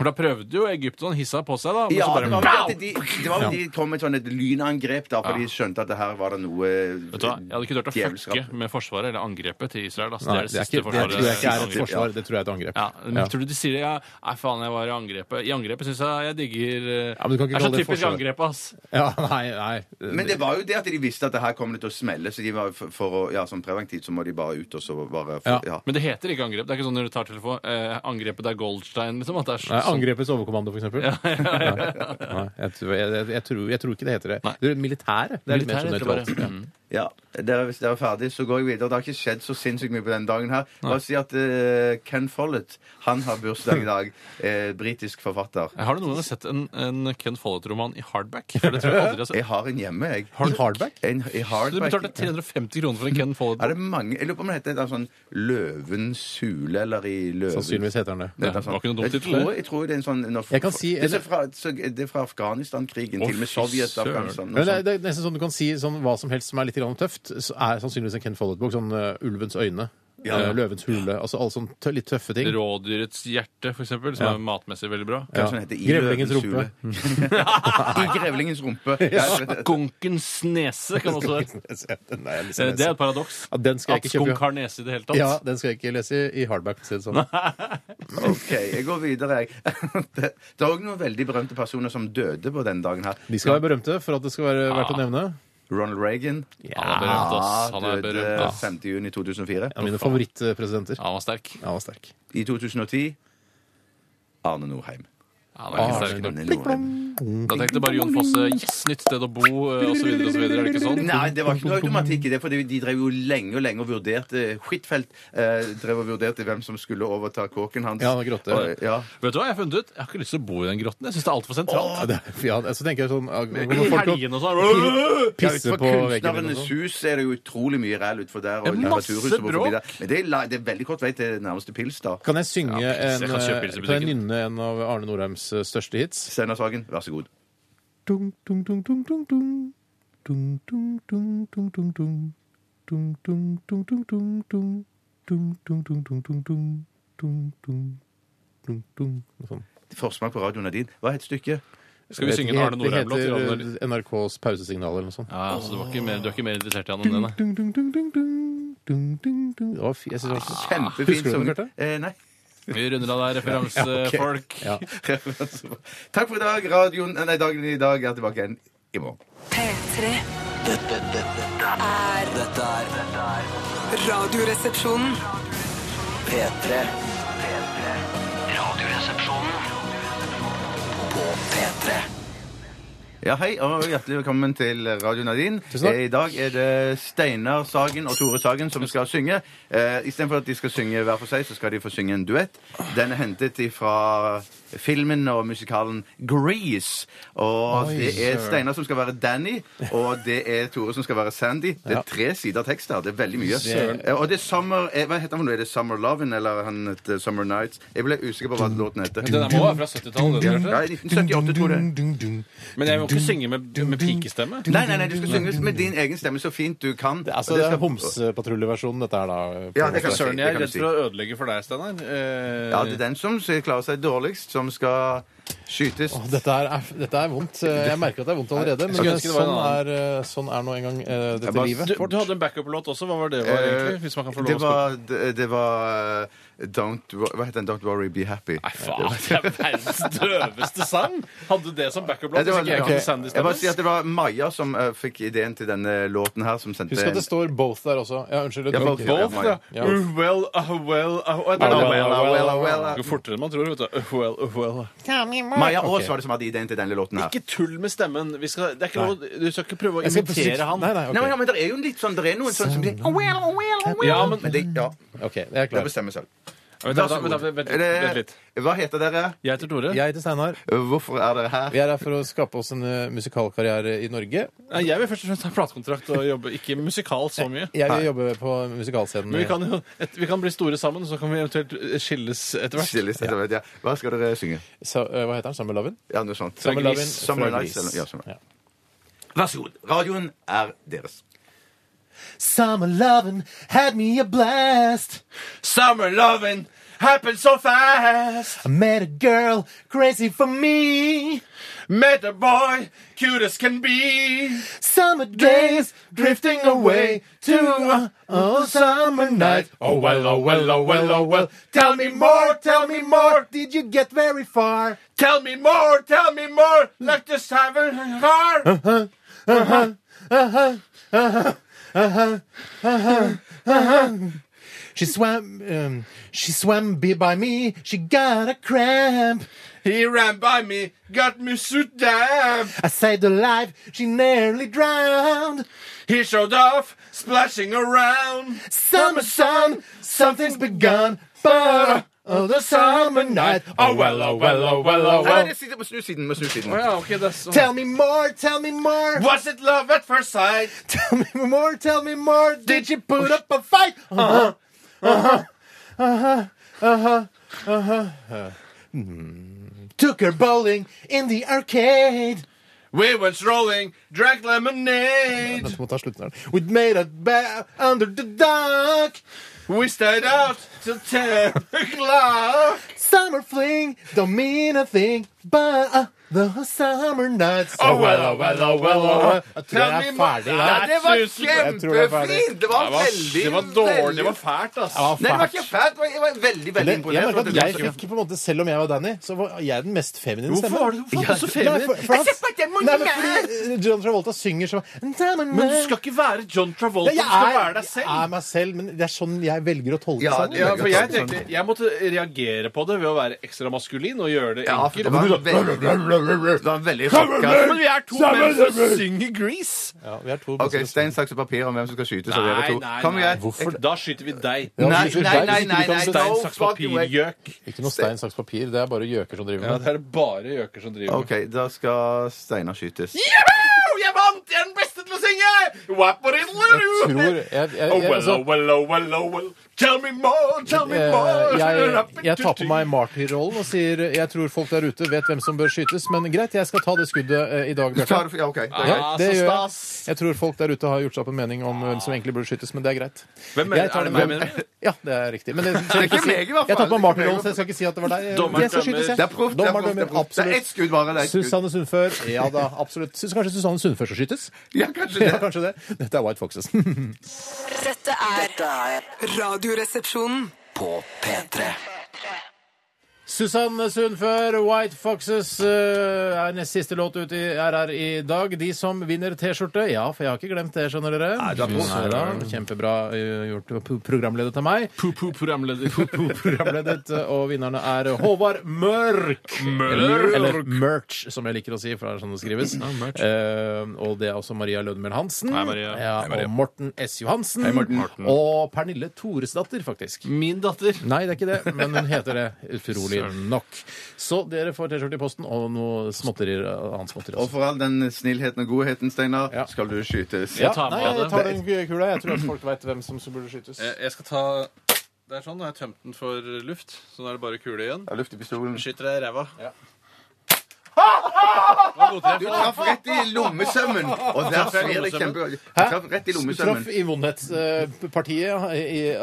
S3: For da prøvde jo Egypt og han hissa på seg, da. Men
S5: Ja,
S3: så
S5: det
S3: bare
S5: var vel at de, det var vel de kom med et sånn et lynangrep, da, for de skjønte at det her var det noe eh,
S3: Vet du hva, Jeg hadde ikke turt å fucke med forsvaret eller angrepet til Israel. Altså, det er det,
S4: det, er
S3: siste
S4: ikke, det
S3: forsvaret.
S4: tror jeg ikke er et
S3: angrepet.
S4: forsvar, det tror jeg er et angrep.
S3: Ja, men Tror du de sier det? Ja, nei, faen, jeg var i angrepet. I angrepet syns jeg jeg digger eh,
S4: Ja, men du kan ikke
S3: Det
S4: kalle
S3: er så
S4: det
S3: typisk
S4: forsvar.
S3: angrep, ass.
S4: Ja, nei, nei.
S5: Men det var jo det at de visste at det her kom det til å smelle, så de var for, for å, ja, som preventivt så må de bare ut og så bare
S4: Ja.
S5: for, ja.
S3: Men det heter ikke angrep. Det er ikke sånn når du tar telefon eh, Angrepet er Goldstein, liksom. At det er
S4: Nei,
S3: sånn.
S4: Angrepets overkommando, for eksempel? Nei, nei, jeg, tror, jeg, jeg, jeg, tror, jeg tror ikke det heter det.
S3: Nei.
S4: Det er militæret. Det er litt mer
S3: Militæret
S4: sånn
S3: heter det bare. Mm.
S4: nøytralt. Ja.
S5: Ja, dere, Hvis dere er ferdig, så går jeg videre. Det har ikke skjedd så sinnssykt mye på denne dagen her. Bare si at eh, Ken Follett han har bursdag i dag. [laughs] Eh, Britisk forfatter.
S3: Har du noen gang sett en, en Ken Follett-roman i hardback? For det tror jeg aldri jeg
S4: [laughs]
S3: har sett.
S5: Jeg har en hjemme, jeg.
S4: I hardback?
S5: En, i
S3: Du
S5: hardback.
S3: betalte 350 kroner for en Ken
S5: Er det
S3: Follett.
S5: mange Jeg lurer på om det heter et eller annet sånn Løvens hule eller i Løven...
S4: Sannsynligvis heter den det.
S5: Det er
S3: Det var ikke noe dumt
S5: sånn. Jeg
S3: tittel, det.
S5: tror, jeg tror det er en sånn når-
S4: Jeg kan si-
S5: det, er fra, så, det er fra Afghanistan-krigen,
S3: Å,
S5: til og med
S3: fy
S5: Sovjet
S3: søren.
S5: Afghanistan. noe
S4: Men det, er-
S5: sånt.
S4: det er nesten sånn du kan si sånn, hva som helst som er litt grann tøft, så er sannsynligvis en Ken Follett-bok. Sånn eh, Ulvens øyne,
S5: Ja.
S4: eh, Løvens hule, altså alle sånne tø litt tøffe [laughs] ting.
S3: [laughs] Rådyrets hjerte, for eksempel, som
S4: Ja.
S3: er matmessig veldig bra.
S5: Kanskje den sånn heter I
S4: Grevlingens
S5: løvens
S4: rumpe.
S5: [laughs] I grevlingens
S4: [laughs]
S5: rumpe. Ja, jeg vet det.
S3: Skunkens nese kan også være.
S4: Nei, jeg
S3: Eh,
S4: leser-
S3: Det er et paradoks.
S4: sånn- Ja, den skal jeg
S3: At
S4: ikke kjøpe.
S3: skunk har nese i det hele tatt.
S4: Ja, den skal jeg ikke lese i, i hardback. for å Si det sånn.
S5: OK, jeg går videre, jeg. [laughs] Det, det er òg noen veldig berømte personer som døde på denne dagen her.
S4: De skal være berømte for at det skal være verdt å nevne.
S5: Ronald Reagan.
S3: Han er berømt, ass. Han er
S5: døde
S3: berømt, ass.
S5: 5. juni 2004.
S4: En av mine favorittpresidenter.
S3: Ja, Han var sterk.
S4: Ja, han var sterk.
S5: I 2010 Arne Norheim.
S3: Ja, han er ikke
S4: Ah,
S3: sterk.
S5: Arne Norheim.
S3: Da tenkte bare Jon Fosse yes, nytt sted å bo, eh, og så videre og så videre. Er det ikke sånn?
S5: Nei, det var ikke noe automatikk i det, for de de drev jo lenge og lenge og vurderte Huitfeldt eh, drev og vurderte hvem som skulle overta kåken hans.
S4: Ja, han gråtte.
S5: Og, ja.
S3: Vet du hva, Jeg har funnet ut, jeg har ikke lyst til å bo i den grotten. Jeg syns det er altfor sentralt.
S4: Ja, det, ja, så tenker jeg sånn ja,
S3: I
S4: Kommer folk og
S3: helgene og sånn.
S5: Ja, utenfor
S4: pisser på veggen? eller noe
S5: Kunstnernes
S4: sånt?
S5: hus er det jo utrolig mye ræl utfor
S3: Det
S5: der. Og
S3: er
S5: Litteraturhuset
S3: masse
S5: går forbi der. Men det er, la- det er veldig kort vei til nærmeste pils, da.
S4: Kan jeg synge
S3: Ja, pils,
S4: en
S3: jeg kan kjøpe
S4: eh,
S3: pils i
S4: Kan jeg
S3: butikken.
S4: nynne en av Arne Norheims eh, største hits?
S5: Steinar Sagen, vær så god.
S4: Dung, dung, dung, dung, dung, dung. Dung, dung, dung, dung, dung, dung. Dung, dung, dung, dung, dung, dung. Dung, dung, dung, dung, dung, dung. Dung, dung, dung, dung. Noe sånt.
S5: Forsmak på radioen er din. Hva het stykket?
S3: Skal vi synge en Arne
S4: Det heter- eh,
S3: Norheim-låt? til Arne Norheim?
S4: Det heter NRKs pausesignal eller noe sånt.
S3: Ja, så du, var ikke mer, du er ikke mer interessert i han enn det?
S5: [laughs]
S3: nei?
S4: Dung, dung, dung, dung, dung. Dung, dung, dung. Å, fy, jeg synes det var så-
S5: Kjempefin
S4: Ah. Husker du den,
S5: sang.
S4: Bjarte?
S5: Eh, nei. [laughs]
S3: Vi runder av der, referansefolk.
S4: Ja.
S5: Takk for i dag. Radioen eh, Nei, dagen i dag er tilbake igjen i morgen.
S1: P3
S2: Dette, dette, dette er Dette er dette er
S1: Radioresepsjonen.
S2: P3. P3. Radioresepsjonen. På P3.
S5: Ja, Hei og hjertelig velkommen til Radio Nadine.
S4: Tusen takk.
S5: Eh, I dag er det Steinar Sagen og Tore Sagen som skal synge. Eh, Istedenfor at de skal synge hver for seg, så skal de få synge en duett. Den er hentet fra filmen og musikalen Grease. Og
S4: Oi,
S5: det er
S4: søren.
S5: Steinar som skal være Danny, og det er Tore som skal være Sandy. Det
S4: Ja.
S5: er tre sider tekst her. Det er veldig mye.
S4: Søren.
S5: Eh, Og det er Summer eh, Hva heter han nå? Er det Summer Lovin' eller han heter Summer Nights? Jeg ble usikker på hva låten heter.
S3: Den der må være fra 70-tallet. den der,
S5: Ja,
S3: tror jeg.
S5: 1978, tror jeg.
S4: Dung, dung, dung.
S3: Men jeg må ikke synge med, med pikestemme.
S5: Nei, nei, nei, du skal synge med din egen stemme så fint du kan.
S4: Det er Altså,
S5: Og
S4: det
S5: skal-
S4: er homsepatruljeversjonen, dette her, da. på
S5: Ja,
S4: en
S5: det
S4: måte.
S5: kan
S3: Søren, jeg
S5: si, det
S3: er
S5: kan
S3: redd
S5: si.
S3: for å ødelegge for deg, Steinar. Eh,
S5: Ja, det er den som klarer seg dårligst, som skal skytes.
S4: Åh, dette, her er, dette er
S3: [laughs]
S4: vondt. Eh, Jeg merker at det er vondt allerede, men
S3: Skulle
S4: det,
S3: ønske det var en
S4: sånn, er, eh, sånn er nå engang eh, dette
S5: Jeg bare-
S4: livet.
S3: du, du hadde en backup-låt også. Hva var det var,
S5: Eh,
S3: egentlig? Hvis man kan få
S5: det
S3: lov å spørre.
S5: var, det, det var eh, Don't wo- Hva heter den? Don't worry, be happy.
S3: Nei, faen, det er verdens døveste sang! Hadde du det som
S5: Nei,
S3: backup-låt?
S5: det
S3: Hvis
S5: var-
S3: ikke jeg
S5: ok.
S3: kunne Sandy
S5: Jeg bare
S3: stemmen.
S5: sier at det var Maja som eh, fikk ideen til denne låten her, som sendte
S4: Husk at det
S5: en-
S4: står 'both' der også. Ja, unnskyld.
S5: Ja,
S4: det-
S5: both, ja.
S3: Both, ja.
S4: Ja.
S3: Uh, well, uh, well, uh, uh, det er
S4: well, uh, well,
S3: det.
S5: uh, well, uh.
S3: Det går fortere enn man tror. vet du. Uh, well, uh, well.
S5: Maja Aas var det som hadde ideen til denne låten her.
S3: Ikke tull med stemmen. Vi skal, det er ikke lov, du skal ikke prøve å
S4: Jeg skal på
S3: imitere han.
S4: Nei, nei, ok.
S5: Nei, men, ja, men det er jo litt sånn, det er noen sånn som sier «Oh, well, oh, well, oh, well».
S3: Ja, men-
S5: Men det, ja,
S4: OK, jeg er
S5: det
S4: klar.
S5: bestemmer selv.
S3: Vent,
S5: Vær
S3: vent,
S5: så
S3: vent,
S5: god.
S3: vent, vent,
S5: Er det-
S3: vent litt.
S5: Hva heter dere?
S3: Jeg heter Tore.
S4: Jeg heter Steinar.
S5: Hvorfor er dere her?
S4: Vi er her for å skape oss en eh, musikalkarriere i Norge.
S3: Nei, Jeg vil først og fremst ha platekontrakt og jobbe ikke musikalt så mye.
S4: Jeg vil jobbe på musikalscenen.
S3: Men vi kan jo et, vi kan bli store sammen, så kan vi eventuelt skilles etter hvert.
S5: Stille, stille, vet jeg. Hva skal dere synge?
S4: Sa- eh, Hva heter han? Summer Lovin?
S5: Ja, noe sånt.
S4: Summer Lovin
S3: Gris.
S4: fra
S5: Summer
S4: Gris.
S5: Nights, eller- ja, Summer.
S4: Ja.
S5: Vær så god. Radioen er deres.
S4: Summer lovin' had me a blast.
S3: Summer lovin'
S5: Happen so fast.
S4: I met a girl crazy for me.
S5: Met a boy, cute as can be.
S4: Summer days drifting away to a oh, summer night. Oh well, oh well, oh well, oh well. Tell me more, tell me more. Did you get very far?
S5: Tell me more, tell me more. Let us have a car.
S4: She swam, um, she swam be by me. She got a cramp.
S5: He ran by me, got me so damn.
S4: I saved her life. She nearly drowned.
S5: He showed off, splashing around.
S4: Summer sun, something's begun. But oh, the summer night. Oh well, oh well, oh well, oh
S5: Nei,
S4: well.
S5: det er siden, må snu siden, må snu siden.
S3: Ja, ok, det er sånn.
S4: Tell me more, tell me more.
S5: Was it love at first sight?
S4: Tell me more, tell me more. Did you put up a fight? Uh huh, uh huh, uh huh, uh huh, uh huh. Uh-huh. Hmm. Took her bowling in the arcade.
S5: We went strolling, drank lemonade.
S4: Må ta slutten her. We made a bet under the dock.
S5: We stayed out till 10 o'clock.
S4: Summer fling don't mean a thing, but uh, the summer nights.
S5: Oh, well, oh, well, oh, well, oh, well.
S4: Jeg tror jeg er ferdig
S5: Ja,
S4: der.
S5: det var
S3: Tusen-
S4: Jeg tror det er ferdig.
S5: kjempefint! Det var veldig
S3: det var dårlig, det
S5: veldig-
S3: var fælt, ass.
S5: Nei, det var ikke fælt. det var- Jeg var veldig, veldig
S4: Det, jeg
S5: imponert.
S4: merker at
S5: over
S4: jeg
S5: at du-
S4: fikk på en måte, Selv om jeg var Danny, så var jeg den mest feminine
S3: Hvorfor
S4: stemmen.
S3: var du- hvorfor er du så
S4: Nei,
S3: feminin?
S4: for- for han- Nei, men fordi eh, John Travolta synger så
S3: Men du skal ikke være John Travolta,
S4: Ja, jeg
S3: du skal
S4: er,
S3: være deg selv.
S4: jeg er meg selv, men det er sånn jeg velger å tolke
S5: Ja,
S4: sangen.
S5: det er-
S3: Ja, for jeg tenkte Jeg måtte reagere på det ved å være ekstra maskulin og gjøre det
S5: Ja, for
S3: enkelt.
S5: det var veldig, det var veldig
S3: Men
S5: rocka.
S3: vi er to menn som synger Grease!
S4: Ja, vi er to
S5: OK, stein, saks og papir om hvem som skal skytes av dere to. Kom igjen.
S3: Hvorfor? Da skyter vi deg.
S4: Ja,
S5: Nei,
S4: hvis du-
S5: nei,
S4: hvis ikke
S5: nei,
S4: du
S5: nei,
S4: kan
S5: nei,
S4: se-
S5: no
S3: Stein, saks,
S5: fucking
S3: papir,
S5: way.
S3: gjøk.
S4: Ikke noe stein, saks, papir. Det er bare gjøker som driver
S3: Ja,
S4: med det.
S3: det er bare gjøker som driver
S5: OK, da skal Steinar skytes.
S3: Juhu! Jeg vant! Jeg er den beste til å synge!
S4: Jeg tror jeg, jeg, jeg,
S3: Oh well,
S4: altså,
S3: oh well, oh well, oh well. Tell me more, tell me more.
S4: eh,
S3: [laughs]
S4: jeg, jeg tar på meg martyrrollen og sier jeg tror folk der ute vet hvem som bør skytes, men greit, jeg skal ta det skuddet eh, i dag,
S5: Tar
S4: Bjarte.
S5: du- Ja, OK. det er
S3: Ja.
S5: greit.
S4: det
S3: så
S4: gjør jeg.
S3: stas.
S4: Jeg tror folk der ute har gjort seg opp en mening om hvem som egentlig burde skytes, men det er greit.
S3: Hvem
S4: Jeg
S3: er,
S4: tar
S3: er det
S4: den-
S3: meg, mener du?
S4: [laughs] Ja, det er riktig. Men jeg,
S5: er ikke meg i hvert fall.
S4: jeg tar på meg
S5: Det er ikke meg i
S4: martyrrollen,
S5: hvert
S4: så jeg skal ikke si at det var deg.
S3: Dommeren
S4: Jeg skal
S3: dømmer.
S4: skytes, jeg.
S5: Det er proft. Det er
S4: Dommeren
S5: proft, det er
S4: dømmer,
S5: proft. Det er ett
S4: absolutt.
S5: skudd bare. Det er ett skudd.
S4: Susanne Sundfør. Ja da, absolutt. Syns kanskje Susanne Sundfør skal skytes?
S5: Ja, kanskje
S4: [laughs] Ja,
S5: det.
S4: kanskje det. Dette er White Foxes. [laughs] Nei,
S2: Dette er
S1: Radioresepsjonen.
S2: på P3.
S4: Susanne Sundfør, White Foxes eh, er nest siste låt ut i RR i dag. De som vinner T-skjorte Ja, for jeg har ikke glemt det, skjønner dere. Nei da, Kjempebra eh, gjort. P- Programledet av meg.
S3: Poo-poo-programleder.
S4: Programledet, eh, og vinnerne er Håvard Mørk.
S3: Mørk.
S4: Eller Merch, som jeg liker å si, for det er sånn det skrives.
S3: Merch.
S4: Eh, og det er også Maria Lødemel Hansen.
S3: Hei, Maria.
S4: Ja,
S3: Hei, Maria.
S4: Og Morten S. Johansen.
S3: Morten. Morten.
S4: Og Pernille Thoresdatter, faktisk.
S3: Min datter.
S4: Nei, det er ikke det, men hun heter det. Utrolig nok. Så dere får T-skjorte i posten og noe småtterier. eh, Annet småtteri
S5: Og
S4: også.
S5: for all den snillheten og godheten, Steinar,
S4: Ja.
S5: skal du skytes.
S4: Ja,
S3: tar med
S4: nei, jeg
S3: det. Eh,
S4: tar den kula. Jeg tror at folk veit hvem som burde skytes.
S3: Jeg jeg skal ta Det er sånn, nå har jeg tømt den for luft. Så nå er det bare kule igjen.
S5: Ja, Luft i pistolen.
S3: Skyter deg i ræva.
S5: Du traff rett i lommesømmen! Og der svir det kjempegodt. Du traff rett i
S4: Du traff
S5: lommesømmen.
S4: i vondhetspartiet.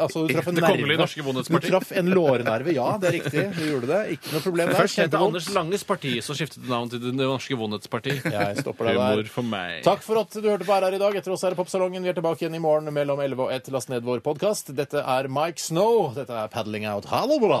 S4: Altså, du traff en
S3: Det
S4: nerve.
S3: kongelige norske
S4: Du
S3: bondhetsparti.
S4: traff en lårnerve, ja. Det er riktig. Du gjorde det. Ikke noe problem der.
S3: Først het det
S4: Kjempevondt.
S3: Anders Langes parti, så skiftet det navn til Det norske Vondhetsparti.
S4: Jeg stopper deg der.
S3: Humor for meg.
S4: Takk for at du hørte på RR i dag. Etter oss er det Popsalongen. Vi er tilbake igjen i morgen mellom 11 og 1. Last ned vår podkast. Dette er Mike Snow. Dette er Paddling Out. Ha det bra!